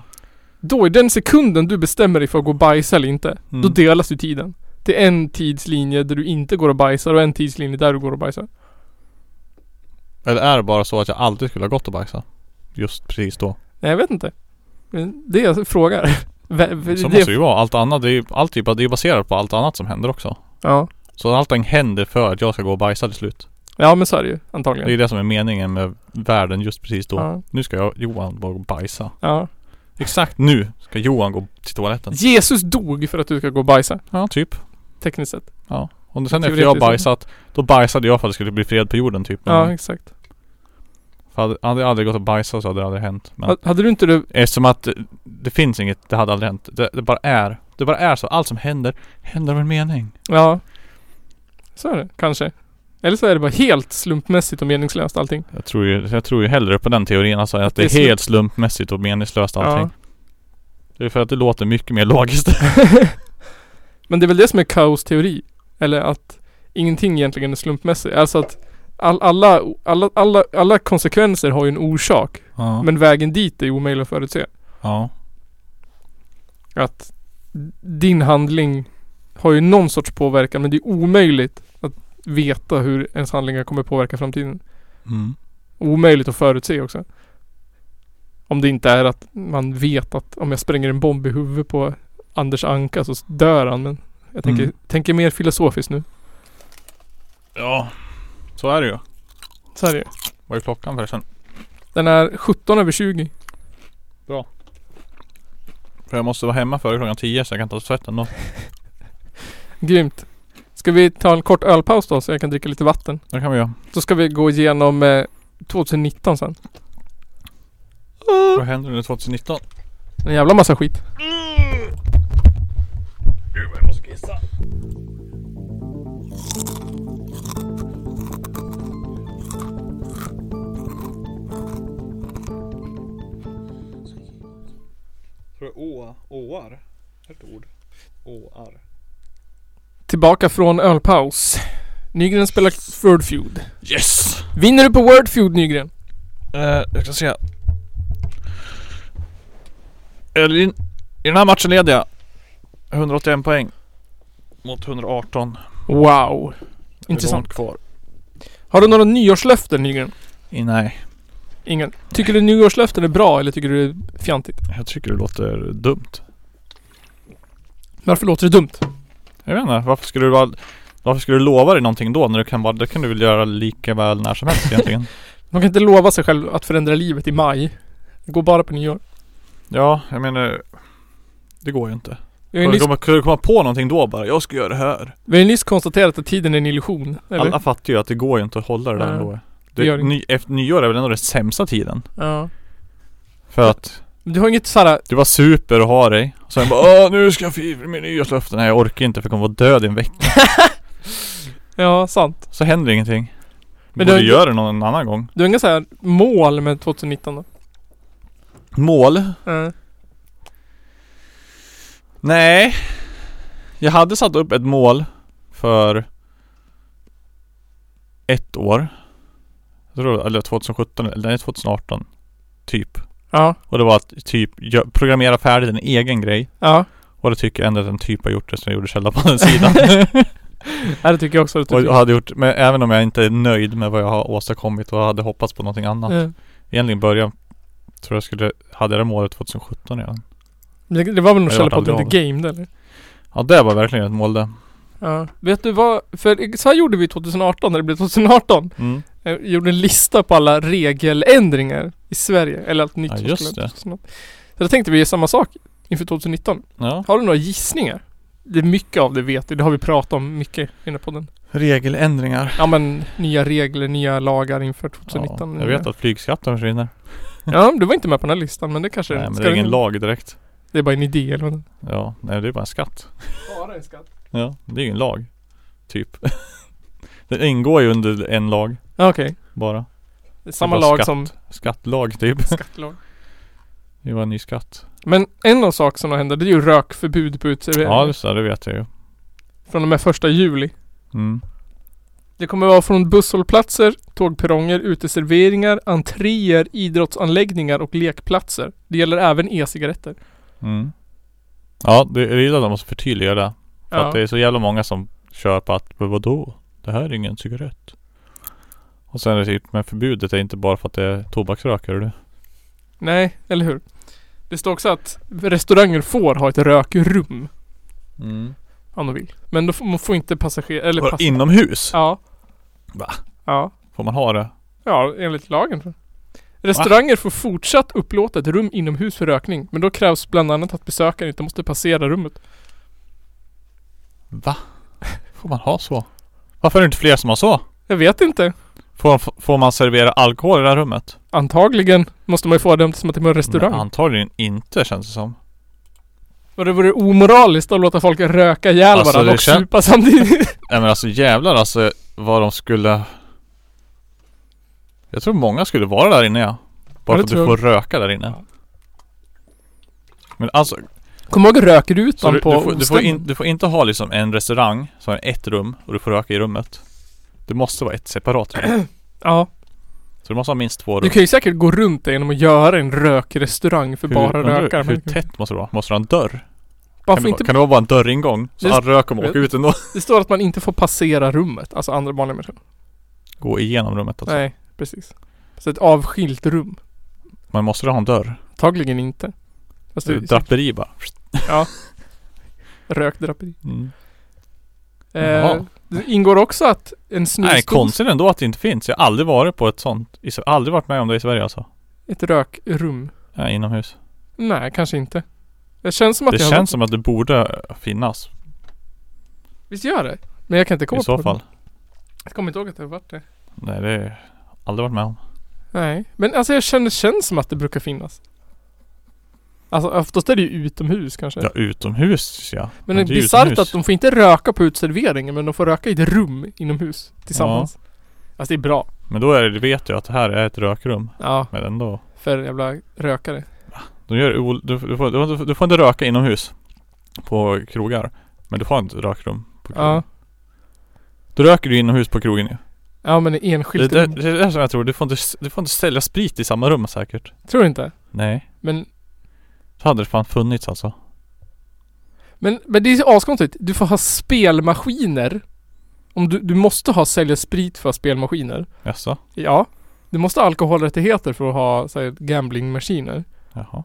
Då i den sekunden du bestämmer dig för att gå och bajsa eller inte. Då Mm. delas ju tiden. Det är en tidslinje där du inte går och bajsar och en tidslinje där du går och bajsar. Eller är det bara så att jag alltid skulle ha gått och bajsat? Just precis då. Nej, jag vet inte. Men Det är jag frågar. Vä- vä- Så det- måste det ju vara. Allt annat, det är ju allt typ, det är baserat på allt annat som händer också. Ja. Så allting händer för att jag ska gå och bajsa till slut. Ja, men så är det ju Det antagligen. är ju det som är meningen med världen just precis då. Ja. Nu ska jag, Johan, bara gå och bajsa. ja. Exakt nu ska Johan gå till toaletten. Jesus dog för att du ska gå och bajsa. Ja, typ. Tekniskt sett. Och sen efter Teoretiskt. jag bajsat, då bajsade jag för att det skulle bli fred på jorden typ. Men Ja, exakt. för hade, hade jag aldrig gått och bajsat så hade det aldrig hänt. Men Ha- Hade du inte det... eftersom att det, det finns inget, det hade aldrig hänt. Det, det bara är. Det bara är så. Allt som händer, händer av en mening. Ja. Så är det. Kanske. Eller så är det bara helt slumpmässigt och meningslöst allting. Jag tror ju, jag tror ju hellre på den teorin alltså, att det det är är helt slumpmässigt och meningslöst allting. Det är för att det låter mycket mer logiskt. Men det är väl det som är kaosteori. Eller att ingenting egentligen är slumpmässigt. Alltså att all, alla, alla, alla, alla konsekvenser har ju en orsak. ja. Men vägen dit är ju omöjlig att förutse. ja. Att din handling har ju någon sorts påverkan men det är omöjligt att veta hur ens handlingar kommer påverka framtiden. Mm. omöjligt att förutse också. Om det inte är att man vet att om jag spränger en bomb i huvudet på Anders Anka så dör han. Men jag tänker, Mm. tänker mer filosofiskt nu. ja. Så är det ju. Så här är det. Vad är klockan förresten? Den är 17 över 20. För jag måste vara hemma före klockan 10 så jag kan ta tvätten då. Grymt. Ska vi ta en kort ölpaus då så jag kan dricka lite vatten? Det kan vi göra. Så ska vi gå igenom eh, 2019 sen. Vad händer under 2019? En jävla massa skit. Tror du å, åar? Ett ord. Åar. Tillbaka från ölpaus. Nygren spelar Wordfeud. Yes! Vinner du på Wordfeud Nygren? Eh, jag ska se. Eller i, I den här matchen leder jag. 181 poäng. Mot 118. Wow. Det är Intressant. långt kvar. Har du några nyårslöften Nygren? I, nej. Ingen. Tycker du nyårslöften är bra eller tycker du det är fjantigt? Jag tycker det låter dumt. Varför låter det dumt? Jag vet inte. Varför skulle du vara... Varför skulle du lova dig någonting då när du kan bara, det kan du väl göra lika väl när som helst egentligen? Man kan inte lova sig själv att förändra livet i maj. Det går bara på nyår. ja, jag menar... Det går ju inte. Vi har ju Kunde nyss, komma, kunde komma på någonting då bara? Jag ska göra det här. vi har ju nyss konstaterat att tiden är en illusion. Eller? Alla fattar ju att det går ju inte att hålla det där Nej. ändå. Det gör Det, det inte. ny, efter nyår är väl ändå den sämsta tiden? Ja. För att Men Du har inget såhär, Du var super och ha dig. Och sen bara Åh, nu ska jag fira min nyårslöften. Nej jag orkar inte för jag kommer vara död i en vecka. ja sant. Så händer ingenting. Men Men du du har borde inte- göra det någon annan gång. Du har inga såhär mål med 2019 då? Mål? Ja. Nej. Jag hade satt upp ett mål för ett år. Jag tror, eller 2017, eller nej, 2018. Typ. Ja. Och det var att typ gö- programmera färdigt en egen grej. ja. Och det tycker jag ändå att en typ har gjort det som jag gjorde själv på den sidan. ja det tycker jag också. Det Och tycker jag hade gjort, men även om jag inte är nöjd med vad jag har åstadkommit och hade hoppats på någonting annat. Ja. Egentligen början tror jag skulle, hade jag det målet 2017 redan. Det, det var väl någon Jag källa vart på att du aldrig inte game det eller? Ja det var verkligen ett mål det. Ja. Vet du vad? För så här gjorde vi 2018 när det blev 2018. Mm. Jag Eh, gjorde en lista på alla regeländringar i Sverige. Eller allt nytt Ja, som just skulle det. Så då tänkte vi göra samma sak inför 2019. Ja. Har du några gissningar? Det är mycket av det vet vi. Det har vi pratat om mycket i den här podden. Regeländringar. Ja men nya regler, nya lagar inför Ja, 2019. jag vet att flygskatten försvinner. Ja, du var inte med på den här listan men det kanske Nej men ska det är ingen du- lag direkt. Det är bara en idé eller vad? Ja, nej det är bara en skatt. Bara en skatt. Ja, det är ju en lag. Typ. Den ingår ju under en lag Ja okej. bara. Det är samma Det är bara lag skatt. som Skattlag typ. skattlag. Det var en ny skatt. Men en av sakerna som hände det är ju rökförbud på Ja uteserveringar. just det, det vet jag ju. från och med första juli. Mm. Det kommer vara från busshållplatser, tågperronger, uteserveringar, entréer, idrottsanläggningar och lekplatser. Det gäller även e-cigaretter. Mm. Ja, det jag gillar att de måste förtydliga det. För att det är så jävla många som kör på att "Men vadå? Det här är ingen cigarett. Och sen är det typ, men förbudet är inte bara för att det är tobaksrökare du. Nej, eller hur? Det står också att restauranger får ha ett rökrum Mm. om de vill. Men då får, man får inte passagerare... Eller pass- Inomhus? Ja. Va? Ja. Får man ha det? Ja, enligt lagen. Restauranger får fortsatt upplåta ett rum inomhus för rökning. Men då krävs bland annat att besökaren inte måste passera rummet. Va? Får man ha så? Varför är det inte fler som har så? Jag vet inte. Får, får man servera alkohol i det här rummet? Antagligen måste man ju få det som att det var en restaurang. Men antagligen inte känns det som. Och det vore omoraliskt att låta folk röka ihjäl Alltså, varandra det och kän- supa samtidigt. Nej men alltså jävlar alltså vad de skulle... Jag tror många skulle vara där inne ja. Bara det för att du tror får jag. röka där inne. Men alltså, Kom ihåg så rökrutan du, du, på får, du, får Osten. in, du får inte ha liksom en restaurang som har ett rum och du får röka i rummet. Det måste vara ett separat rum. Ja. Så du måste ha minst två Du rum. kan ju säkert gå runt det genom att göra en rökrestaurang för bara undrar rökare. Hur Men tätt måste det vara? Måste du ha en dörr? Kan varför det, inte... vara, kan det vara bara en dörringång? Så Det- all rök kommer åka ut ändå. Det står att man inte får passera rummet. Alltså andra vanliga människor. Gå igenom rummet alltså. Nej, precis. Så ett avskilt rum. Man måste ha en dörr. Antagligen inte. Fast det, Draperi bara. Rökdraperi. Mm. Eh, Jaha. det ingår också att en snusdos... Nej, konstigt ändå att det inte finns. Jag har aldrig varit på ett sånt. I, Sve- aldrig varit med om det i Sverige alltså. Ett rökrum. Nej, inomhus. Nej, kanske inte. Det känns som att Det jag känns som att det borde finnas. Visst gör det? Men jag kan inte komma I så på fall. det. Jag kommer inte ihåg att det har varit det. Nej, det har jag aldrig varit med om. Nej, men alltså jag känner, känns som att det brukar finnas. Alltså oftast är det ju utomhus kanske. Ja, utomhus ja. men det är ju bisarrt utomhus. att de får inte röka på uteserveringen men de får röka i ett rum inomhus tillsammans. Alltså det är bra. Men då är det, vet jag att det här är ett rökrum. Ja, Men ändå. för jävla rökare. De gör, ol- du, du, får, du, får- du får inte röka inomhus. På krogar. Men du får inte rökrum på krogen. Ja. Då röker du inomhus på krogen ju. Ja men i Det, enskilt det, rum. det är det som jag tror. Du får, inte, du får inte sälja sprit i samma rum säkert. Tror du inte? Nej. Men Så hade det fan funnits alltså. Men, men det är ju askonstigt. Du får ha spelmaskiner. Om du, du måste ha sälja sprit för att ha spelmaskiner. Jaså? Ja. Du måste ha alkoholrättigheter för att ha så här, gamblingmaskiner. Jaha.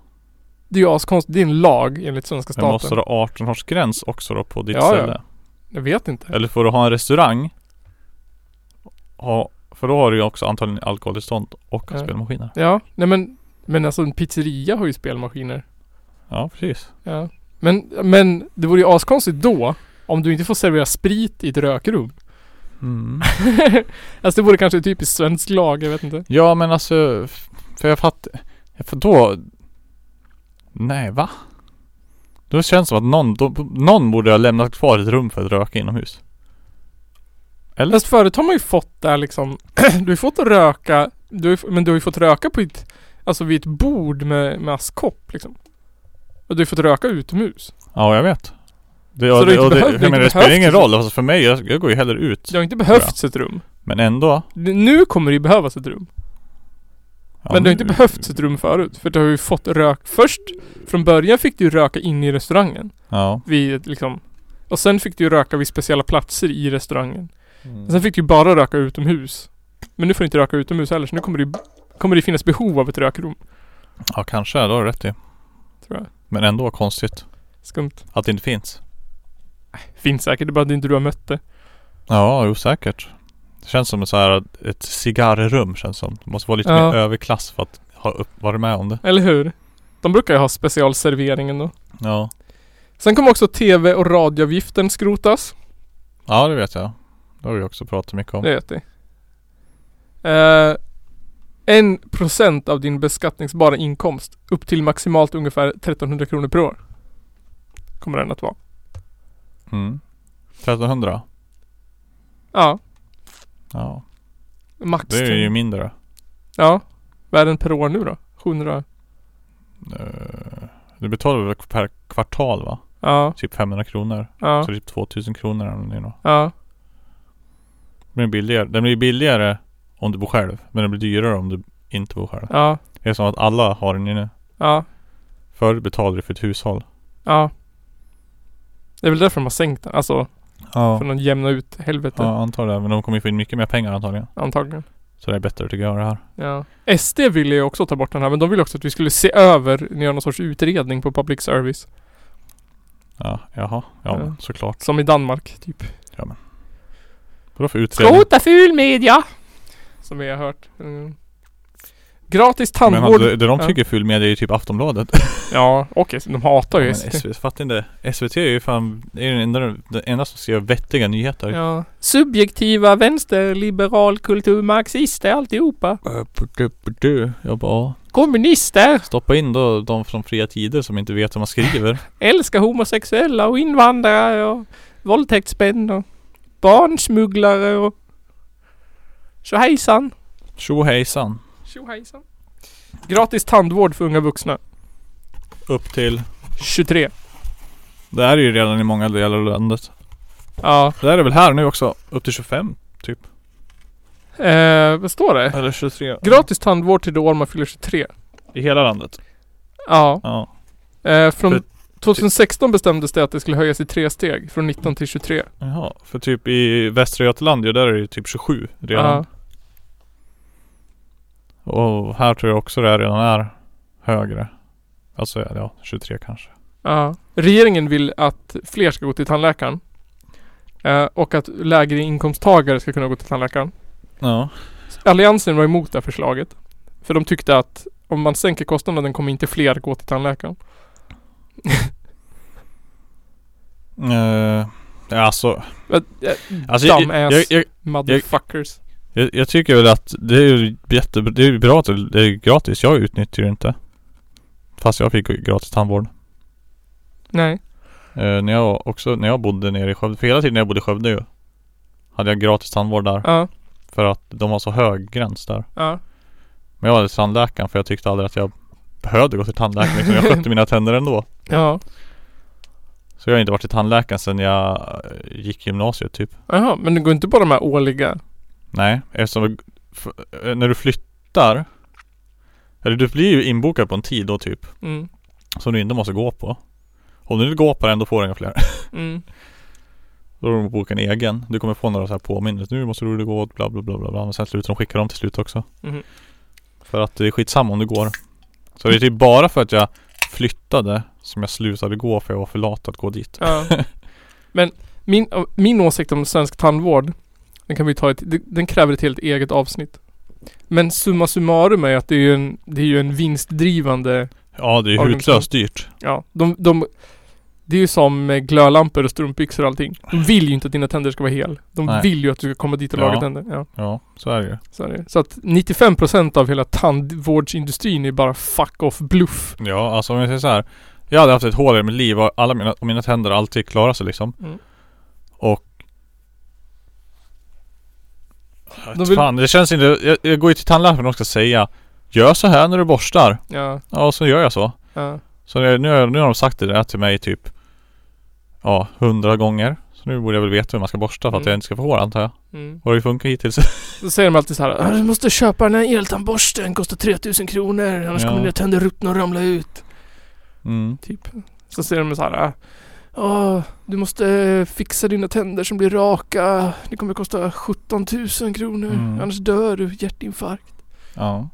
Det är ju askonstigt. Det är en lag enligt svenska Men staten. måste du ha 18-årsgräns också då på ditt Ja, ja. ställe? Jag vet inte. Eller får du ha en restaurang? Ha, för då har du ju också antagligen alkoholtillstånd och Ja. spelmaskiner. Ja, nej men. Men alltså en pizzeria har ju spelmaskiner. Ja, precis. Ja. Men, men det vore ju askonstigt då. Om du inte får servera sprit i ett rökrum. Mm. alltså det vore kanske typiskt svensk lag, jag vet inte. Ja, men alltså. f- För jag fattar. För då. Nej, va? Då känns det som att någon, då, någon borde ha lämnat kvar ett rum för att röka inomhus. Eller? Fast förut har man ju fått där liksom Du har ju fått röka du har, ju- Men du har ju fått röka på ett Alltså vid ett bord med, med askkopp liksom Och du har ju fått röka utomhus Ja, jag vet. Det, Så och det det, inte och behövs- det, det jag menar, inte det spelar behövs ingen liksom. roll. Alltså för mig, jag, jag går ju hellre ut. Det har inte behövts ett rum Men ändå. Det- Nu kommer det ju behövas ett rum Ja, Men det har inte nu- behövts ett rum förut För du har ju fått rök Först Från början fick du ju röka in i restaurangen Ja. Vid ett, liksom Och sen fick du ju röka vid speciella platser i restaurangen Sen fick du ju bara röka utomhus Men nu får du inte röka utomhus heller så nu kommer det ju Kommer det finnas behov av ett rökrum Ja, kanske. Då har du rätt i. Tror jag Men ändå konstigt Skumt att det inte finns. Finns säkert, det är bara att inte du har mött det. Ja, jo säkert. Det känns som ett, så här, ett cigarrrum känns som. Det måste vara lite Ja. mer överklass för att ha upp, varit med om det. Eller hur? De brukar ju ha specialserveringen då. Ja. Sen kommer också TV och radioavgiften skrotas. Ja, det vet jag. Det har vi också pratat mycket om. Det vet vi. Eh, En procent av din beskattningsbara inkomst upp till maximalt ungefär 1300 kronor per år. Kommer den att vara. Mm. 1300? Ja, Ja. max. Det är ju mindre. Ja. Vad är den per år nu då? 700? Eh, Du betalar väl per kvartal va? Ja, Typ 500 kronor. ja, Så typ 2000 kronor eller någonting då. ja. Det blir billigare. Den blir billigare om du bor själv. Men den blir dyrare om du inte bor själv. Ja, Det är som att alla har den inne. ja, Förr betalade du för ett hushåll. ja. Det är väl därför de har sänkt den. Alltså Ja, för att jämna ut helvetet ja antar det. Men de kommer ju få in mycket mer pengar antagligen. antagligen. Så det är bättre tycker jag det här. Ja. SD ville ju också ta bort den här men de ville också att vi skulle se över, göra någon sorts utredning på public service. Ja, jaha. Ja, Ja. men såklart. Som i Danmark typ. Vadå för utredning? Skrota ful media! Som vi har hört. Mm. Gratis Men han, tandvård. det, det de Ja. tycker är full media är ju typ Aftonbladet. Ja, och S- de hatar ju Men SD. SVT, fattar inte. SVT är ju fan, det är ju den enda, den enda som skriver vettiga nyheter. Ja. Subjektiva vänsterliberal kulturmarxister alltihopa. Äh, Jag bara, Kommunister. stoppa in då de från Fria Tider som inte vet hur man skriver. Älskar homosexuella och invandrare och våldtäktsmän och barnsmugglare och tjohejsan. Tjo hejsan. Tjohejsan. Gratis tandvård för unga vuxna. Upp till. 23. Det här är ju redan i många delar av landet. Ja. Det här är väl här nu också. Upp till 25 typ. Eh, vad står det? Eller 23. Gratis tandvård till det år man fyller 23. I hela landet. Ja. Ja. Eh, från För- 2016 bestämdes det att det skulle höjas i tre steg. Från 19 till 23. Jaha. För typ i Västra Götaland, ja, där är det ju typ 27 redan. Ja. Och här tror jag också det här redan är högre. Alltså ja, 23 kanske. Ja. Regeringen vill att fler ska gå till tandläkaren. Eh, och att lägre inkomsttagare ska kunna gå till tandläkaren. Ja. Alliansen var emot det här förslaget. För de tyckte att om man sänker kostnaden kommer inte fler gå till tandläkaren. Uh, alltså. Eh, eh, alltså jag, jag, Dumbass jag, jag, motherfuckers. jag, jag tycker väl att det är ju jättebra. Det är ju bra att det det är gratis. Jag utnyttjar det inte. Fast jag fick ju gratis tandvård. Nej. Eh, när jag också, när jag bodde nere i Skövde. För hela tiden när jag bodde i Skövde ju. Hade jag gratis tandvård där. Ja. För att de har så hög gräns där. Ja. Men jag valde tandläkaren för jag tyckte aldrig att jag behövde gå till tandläkaren. Liksom. Jag skötte mina tänder ändå. Ja. Så jag har inte varit till tandläkaren sedan jag eh, gick gymnasiet typ. Jaha, men det går inte på de här årliga? Nej, eftersom f- eh, när du flyttar. Eller du blir ju inbokad på en tid då typ. Mm. Som du inte måste gå på. Om du inte går på den då får du inga fler. Mm. Då har de bokat en egen. Du kommer få några så här påminnelser. Nu måste du gå åt bla bla bla bla bla. Men sen slutar de skicka dem till slut också. Mhm. För att det är skitsamma om du går. Så det är typ bara för att jag flyttade som jag slutade gå för jag var för lat att gå dit. Ja. Men min, min åsikt om svensk tandvård, den kan vi ta ett, den kräver ett helt eget avsnitt. Men summa summarum är att det är ju en, det är ju en vinstdrivande, Ja det är ju Organisation. hutlöst dyrt. ja, de, de det är ju som med glödlampor och strumpbyxor och allting. De vill ju inte att dina tänder ska vara hel. De Nej. vill ju att du ska komma dit och Ja. laga tänder. Ja, Ja så är det ju. så, är det. så att 95% av hela tandvårdsindustrin är bara fuck off bluff. Ja alltså om jag säger så här. Jag hade haft ett hål i mitt liv och alla mina, och mina tänder har alltid klarat sig liksom. Mm. Och De vill- Fan det känns inte. Jag, jag går ju till tandläkaren och de ska säga Gör så här när du borstar. Ja, Ja så gör jag så. ja, Så nu, nu, har- nu har de sagt det där till mig typ Ja, hundra gånger. Så nu borde jag väl veta hur man ska borsta för att Mm. jag inte ska få hår antar jag. mm. Har det funkat hittills? Då säger de alltid så här. "Ah, Du måste köpa den här eltandborsten, kostar 3000 kronor, annars Ja. kommer dina tänder ruttna och ramla ut. Mm. Typ. Så säger de så här. Åh, du måste eh, fixa dina tänder som blir raka. Det kommer kosta 17 000 kronor, Mm. annars dör du hjärtinfarkt. Ja.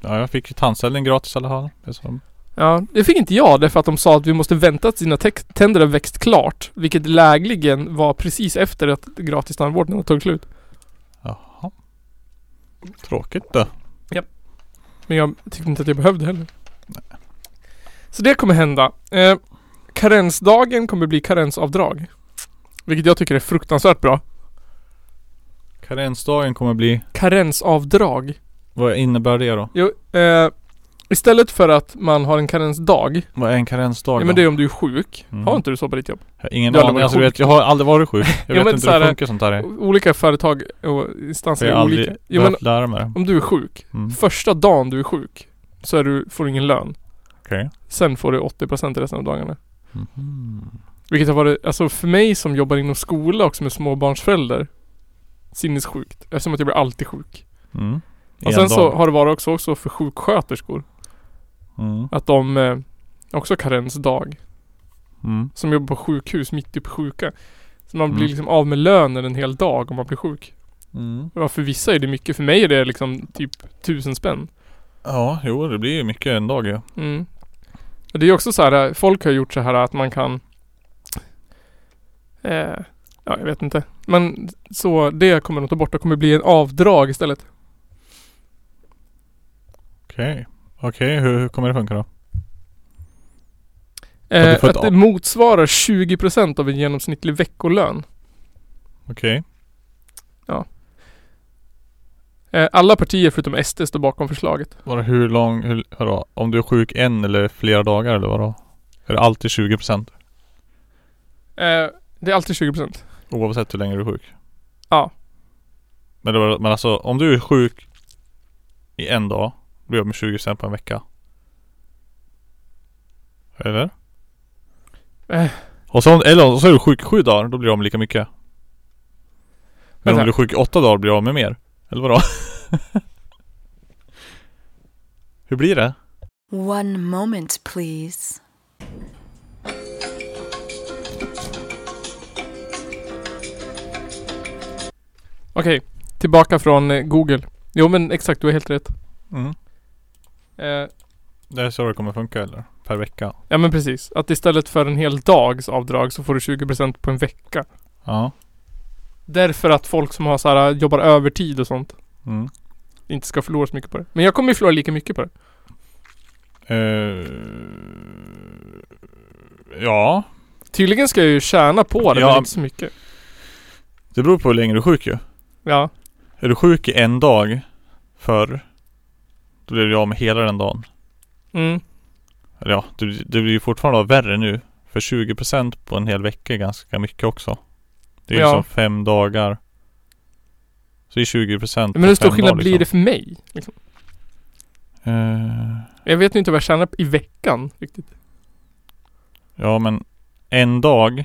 Ja, jag fick ju tandställning gratis i alla fall. Det är som- Ja, det fick inte jag därför att de sa att vi måste vänta tills dina tex- tänder har växt klart. Vilket lägligen var precis efter att gratis tandvården hade tagit slut. Jaha. Tråkigt då. Men jag tyckte inte att jag behövde heller. Så det kommer hända. Eh, karensdagen kommer bli karensavdrag. Vilket jag tycker är fruktansvärt bra. Karensdagen kommer bli... Karensavdrag. Vad innebär det då? Jo, eh, istället för att man har en karensdag. Vad är en karensdag Ja, då? men det är om du är sjuk. Mm. Har inte du så på ditt jobb? Jag har ingen Du har aldrig aning. varit Alltså, du sjuk. vet, jag har aldrig varit sjuk. Jag men vet inte så hur det här- funkar sånt där. är. Olika företag och instanser För jag är har olika. aldrig Jo, men behövt lära mig det. om du är sjuk. Mm. Första dagen du är sjuk så är du, får du ingen lön. Okej. Sen får du 80% resten av dagarna. Mhm. Vilket har varit, alltså för mig som jobbar inom skola och som är småbarnsförälder Sinnessjukt. Eftersom att jag blir alltid sjuk. Mm. Och En sen så dag. har det varit också, också för sjuksköterskor. Mm. Att de eh, också har karensdag. Mm. Som jobbar på sjukhus mitt uppe i sjuka. Så man blir Mm. liksom av med lönen en hel dag om man blir sjuk. Mm. Ja, för vissa är det mycket. För mig är det liksom typ tusen spänn. Ja, jo det blir ju mycket en dag ja. Mm. Och det är också så här, eh, folk har gjort så här att man kan... Eh, ja, jag vet inte. Men så det kommer de ta bort. Det kommer bli en avdrag istället. Okej. Okej, hur, hur kommer det funka då? Eh, du får ett att det av- motsvarar 20% av en genomsnittlig veckolön. Okej. Eh, alla partier förutom SD står bakom förslaget. Vadå hur lång, hur, vadå, om du är sjuk en eller flera dagar eller vadå? Är det alltid 20% Eh, det är alltid 20%. oavsett hur länge du är sjuk? Ja. Men, det var, men alltså om du är sjuk i en dag, blir du med 20% på en vecka. Eller? Eh. Och så, eller så är du sjuk i sju dagar, då blir du av med lika mycket. Men Vänta. om du är sjuk i åtta dagar blir du av med mer. Eller vadå? Hur blir det? One moment, please. Okej, tillbaka från eh, Google. Jo men exakt, du har helt rätt. Mm. Eh, Det är så det kommer funka eller? Per vecka? ja men precis. Att istället för en hel dags avdrag så får du 20% på en vecka. Ja. Därför att folk som har så här, jobbar övertid och sånt Mm. inte ska förlora så mycket på det. Men jag kommer ju förlora lika mycket på det. Eh, ja. Tydligen ska jag ju tjäna på det, men Ja. inte så mycket. Det beror på hur länge du är sjuk ju. Ja. Är du sjuk i en dag förr, då blir du av med hela den dagen. Mm. Eller ja, det, det blir ju fortfarande av värre nu. För 20% på en hel vecka är ganska mycket också. Det är ju Ja. som fem dagar. Så det är 20% Men hur stor skillnad blir det för mig? Liksom. det? Eh, Jag vet ju inte vad jag tjänar i veckan riktigt. ja men en dag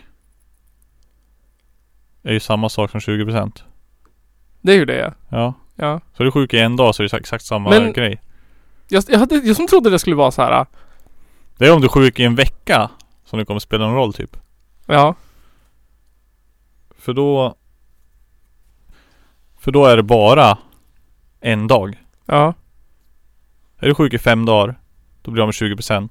är ju samma sak som 20%. Det är ju det ja. Ja. ja. Så är du sjuk i en dag så är det exakt samma Men- grej. Jag, jag, hade, jag som trodde det skulle vara så här. Det är om du är sjuk i en vecka som det kommer spela någon roll typ. Ja. För då... För då är det bara en dag. Ja. Är du sjuk i fem dagar, då blir du av med 20%.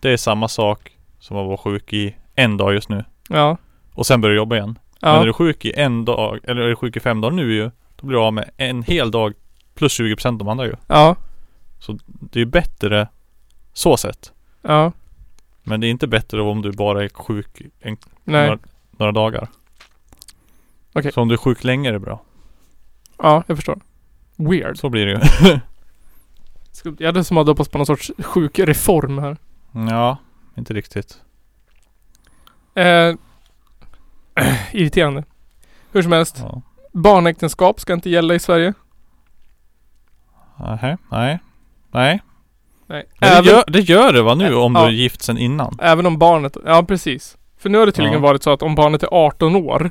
Det är samma sak som att vara sjuk i en dag just nu. Ja. Och sen börjar du jobba igen. Men Ja. är du sjuk i en dag, eller är du sjuk i fem dagar nu ju, då blir du av med en hel dag plus 20% de andra ju. Ja. Det är ju bättre så sett. Ja. Men det är inte bättre om du bara är sjuk en, Nej. Några, några dagar. Okej. Så om du är sjuk länge är det bra. Ja, jag förstår. Weird. Så blir det ju. Ska- Jag hade som hade hoppats på någon sorts sjuk reform här. ja, inte riktigt. Eh, irriterande. Hur som helst. Ja. Barnäktenskap ska inte gälla i Sverige. Nähä, nej. Nej. Nej. Men Även, det, gör, det gör det va nu om Ja. du är gift sen innan? även om barnet... Ja, precis. För nu har det tydligen Ja. varit så att om barnet är 18 år.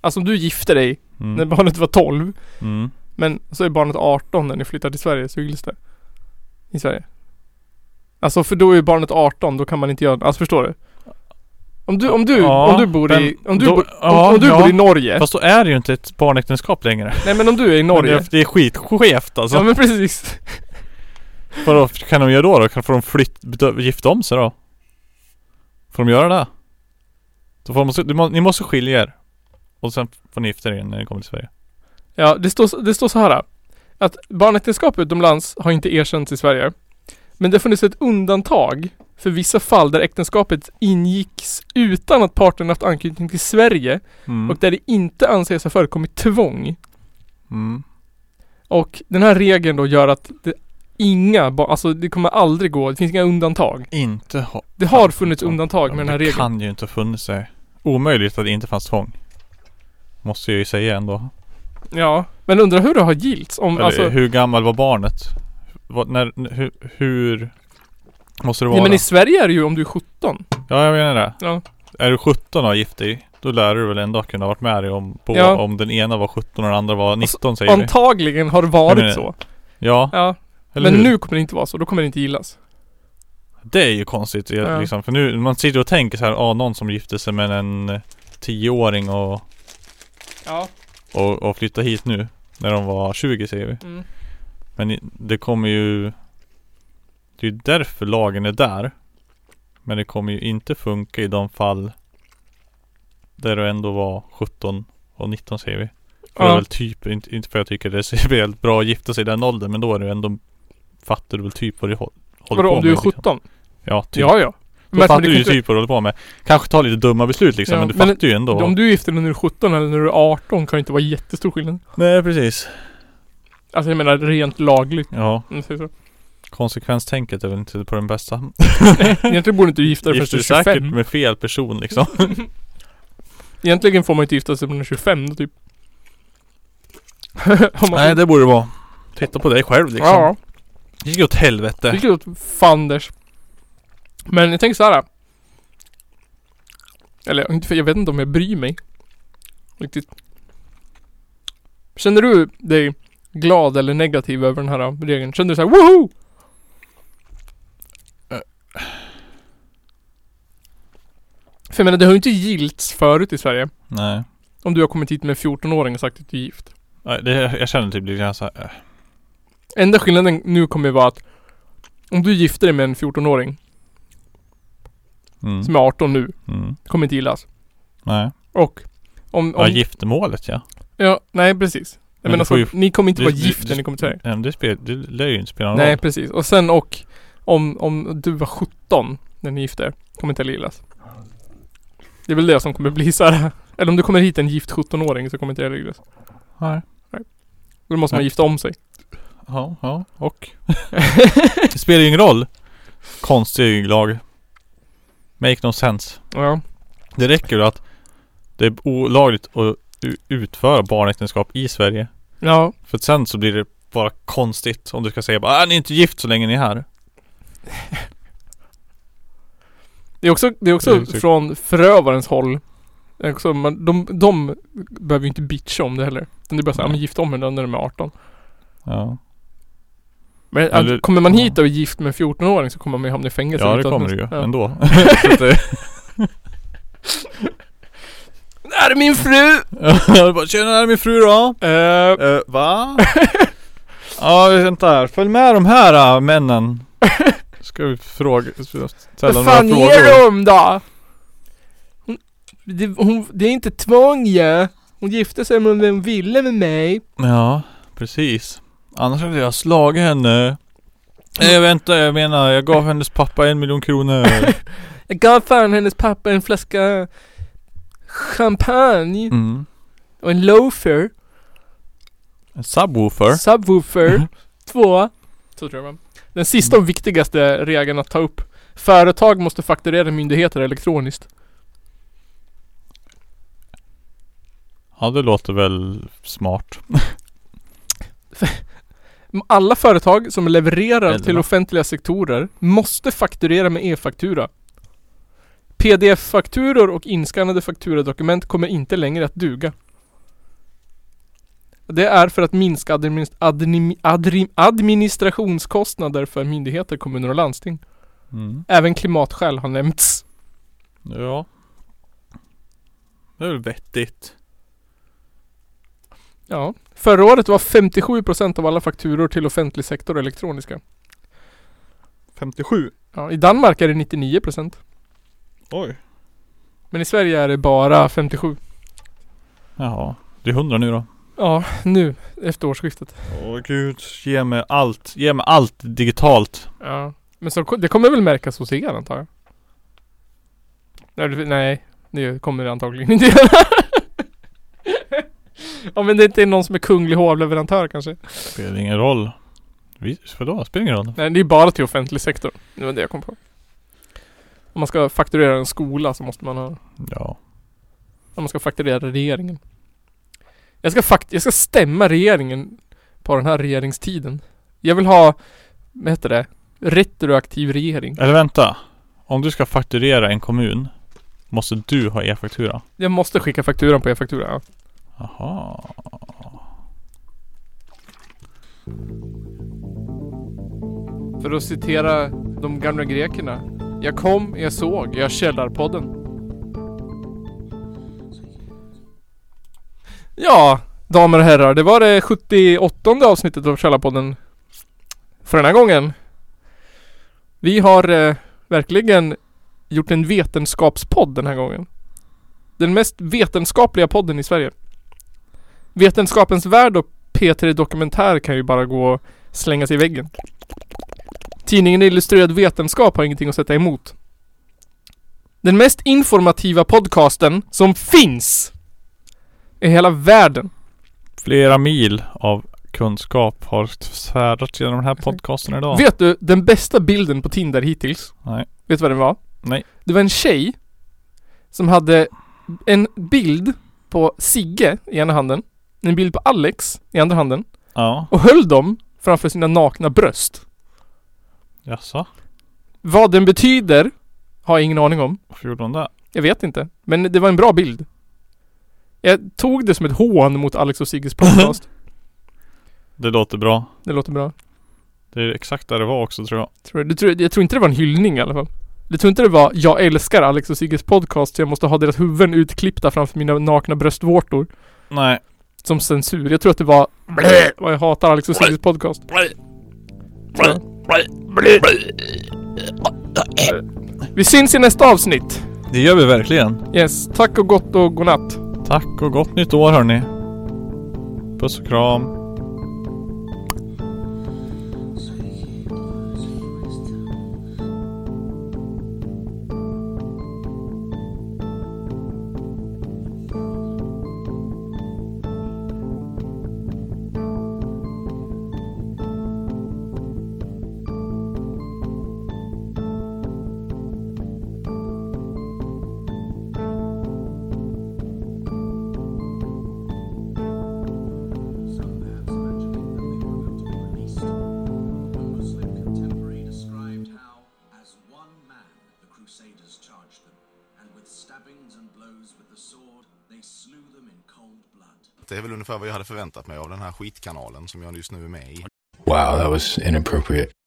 Alltså om du gifter dig Mm. när barnet var 12. Mm. Men så är barnet 18 när ni flyttar till Sverige, så gills det. I Sverige. Alltså för då är ju barnet 18, då kan man inte göra Alltså förstår du? Om du, om du, Ja, om du bor i, men om du, då- bor- ja, om, om du ja. bor i Norge. Fast då är det ju inte ett barnäktenskap längre. Nej men om du är i Det Norge. är, det är skitskevt alltså. Ja men precis. Vadå, kan de göra då då? Kan får de flytt, bedö- gifta om sig då? Får de göra det? Då får de, du må, ni måste skilja er. Och sen får ni gifta er igen när ni kommer till Sverige. Ja, det står, så- det står så här. Att barnäktenskap utomlands har inte erkänts i Sverige. Men det har funnits ett undantag för vissa fall där äktenskapet ingicks utan att parterna haft anknytning till Sverige Mm. och där det inte anses ha förekommit tvång. Mm. Och den här regeln då gör att det, inga, ba- alltså det kommer aldrig gå, det finns inga undantag. Inte ha... Det har funnits undantag Ja, med men den här det regeln. kan ju inte ha funnits sig. Omöjligt att det inte fanns tvång. Måste jag ju säga ändå. Ja, men undrar hur det har gilts om, Eller, alltså, hur gammal var barnet? Vad, när, hur, hur måste det vara? nej men i Sverige är det ju om du är 17. Ja, jag menar det. Ja. Är du 17 och har gift dig, då lär du väl ändå kunna ha varit med dig om, på, Ja. om den ena var 17 och den andra var 19 säger vi. Antagligen har det varit Jag menar- så. Ja, Ja, eller men hur? nu kommer det inte vara så, då kommer det inte gillas. Det är ju konstigt Ja. liksom, för nu, man sitter och tänker så här, ah, någon som gifte sig med en eh, tioåring och, Ja. och, och flyttade hit nu. När de var 20 säger vi. Mm. Men i- det kommer ju Det är ju därför lagen är där Men det kommer ju inte funka i de fall Där du ändå var 17 och 19 säger vi För det är Ja. väl typ, inte, inte för jag tycker det är speciellt bra att gifta sig i den åldern Men då är du ändå Fattar du väl typ vad du hå- håller Vadå på om du är med liksom. 17? Ja, typ. Ja, ja. Då Men- fattar men det du ju kan inte- typ vad du håller på med Kanske tar lite dumma beslut liksom Ja, men du men fattar ju ändå Om du är gift dig när du är 17 eller när du är 18 kan ju inte vara jättestor skillnad. Nej precis Alltså jag menar rent lagligt. Ja, Om man säger så. konsekvenstänket är väl inte på den bästa Egentligen borde inte du gifta dig förrän Gifter du du är säkert 25. med fel person liksom Egentligen får man inte gifta sig förrän du är 25 då, typ. Om man- Nej det borde det vara. Titta på dig själv liksom. Ja, Det gick ju åt helvete. vilket låter fanders. Men jag tänker så här. Eller inte för- jag vet inte om jag bryr mig. Riktigt. Känner du dig glad eller negativ över den här regeln? Känner du så här woho! För jag menar det har ju inte gilts förut i Sverige. Nej. Om du har kommit hit med en 14-åring och sagt att du är gift. Nej, Det, jag känner typ lite grann såhär. eh, Enda skillnaden nu kommer ju vara att om du gifter dig med en 14-åring Mm. som är 18 nu, Mm. kommer inte gillas. Nej. Och om... Ja om giftermålet ja. ja, nej precis. Jag Men menar du får så, ju- ni kommer inte du- vara du- gift du- när ni kommer till Sverige. Nej men det spelar, det lär ju inte spela någon Nej roll. precis. Och sen och om, om du var 17 när ni gifte er, kommer inte heller gillas. Det är väl det som kommer bli så här. Eller om du kommer hit en gift 17-åring så kommer inte heller gillas. Nej. Då måste man Nej. gifta om sig. Ja, ja och. det spelar ju ingen roll. Konstig lag. Make no sense. Ja. Det räcker ju att det är olagligt att u- utföra barnäktenskap i Sverige. Ja. För att sen så blir det bara konstigt om du ska säga bara "Ah, ni är inte gift så länge ni är här. Det är också, det är också Det är också- från förövarens håll. Det är Också, man, de, de behöver ju inte bitcha om det heller. Utan det är bara såhär, Nej. men gift om henne när de är 18. Ja. Men att- Eller- kommer man hit ja. och är gift med en 14-åring så kommer man ju hamna i fängelse. Ja det utan- kommer det ju Ja. ändå. Så att det- Det här är min fru! Jag bara, Tjena det här är min fru då. Eh, Uh, va? Ja vänta här. Följ med de här äh, männen. Ska vi fråga, ställa vad några fan ger frågor. de då? Hon, det, hon, det är inte tvång ja. Hon gifte sig med vem ville med mig. Ja precis. Annars hade jag slagit henne. Nej vänta jag menar jag gav hennes pappa en miljon kronor. Jag gav fan hennes pappa en flaska champagne Mm. och en loafer. En subwoofer. Mm. Subwoofer. Två. Så tror jag man. Den sista och viktigaste regeln att ta upp. Företag måste fakturera myndigheter elektroniskt. Ja det låter väl smart. Alla företag som levererar Eller till va? offentliga sektorer måste fakturera med e-faktura. Pdf-fakturor och inskannade fakturadokument kommer inte längre att duga. Det är för att minska admin- admin- adrim- administrationskostnader för myndigheter, kommuner och landsting. Mm. Även klimatskäl har nämnts. Ja. Det är väl vettigt. Ja. Förra året var 57% av alla fakturor till offentlig sektor elektroniska. 57. Ja, I Danmark är det 99%. Oj. Men i Sverige är det bara 57. Jaha. Det är 100 nu då. Ja, nu efter årsskiftet. Åh gud. Ge mig allt. Ge mig allt digitalt. Ja. Men så, det kommer väl märkas hos er antar jag? Nej, det- nej det kommer det antagligen inte göra. Om det inte är någon som är kunglig hovleverantör kanske. Spelar ingen roll. Vi, vadå? Spelar ingen roll? Nej, det är bara till offentlig sektor. Det var det jag kom på. Om man ska fakturera en skola så måste man ha Ja. Om man ska fakturera regeringen. Jag ska, fakt jag ska stämma regeringen på den här regeringstiden. Jag vill ha, vad heter det? Retroaktiv regering. Eller vänta. Om du ska fakturera en kommun måste du ha e-faktura. Jag måste skicka fakturan på e-faktura. Ja. Jaha. För att citera de gamla grekerna. Jag kom, jag såg, jag källarpodden. Ja, damer och herrar, det var det 78 avsnittet av Källarpodden. För den här gången. Vi har eh, verkligen gjort en vetenskapspodd den här gången. Den mest vetenskapliga podden i Sverige. Vetenskapens värld och P3 Dokumentär kan ju bara gå och slänga sig i väggen. Tidningen Illustrerad Vetenskap har ingenting att sätta emot. Den mest informativa podcasten som finns i hela världen. Flera mil av kunskap har svärdats genom den här podcasten idag. Vet du den bästa bilden på Tinder hittills? Nej. Vet du vad den var? Nej. Det var en tjej som hade en bild på Sigge i ena handen, en bild på Alex i andra handen Ja. och höll dem framför sina nakna bröst. Jaså? Vad den betyder har jag ingen aning om. Varför gjorde hon det? Jag vet inte. Men det var en bra bild. Jag tog det som ett hån mot Alex och Sigges podcast. Det låter bra. det låter bra. Det är exakt där det var också tror jag. Tror jag. Du tror, jag tror inte det var en hyllning i alla fall. Jag tror inte det var 'Jag älskar Alex och Sigges podcast så jag måste ha deras huvuden utklippta framför mina nakna bröstvårtor' Nej. som censur. Jag tror att det var 'Blä! vad jag hatar Alex och Sigges podcast' Vi syns i nästa avsnitt! Det gör vi verkligen. Yes, tack och gott och godnatt! Tack och gott nytt år hörni. Puss och kram. Muslim contemporary described how, as one man, the Crusaders charged them, and with stabbings and blows with the sword, they slew them in cold blood. Det är väl ungefär vad jag hade förväntat mig av den här skitkanalen som jag just nu är med i. Wow, that was inappropriate.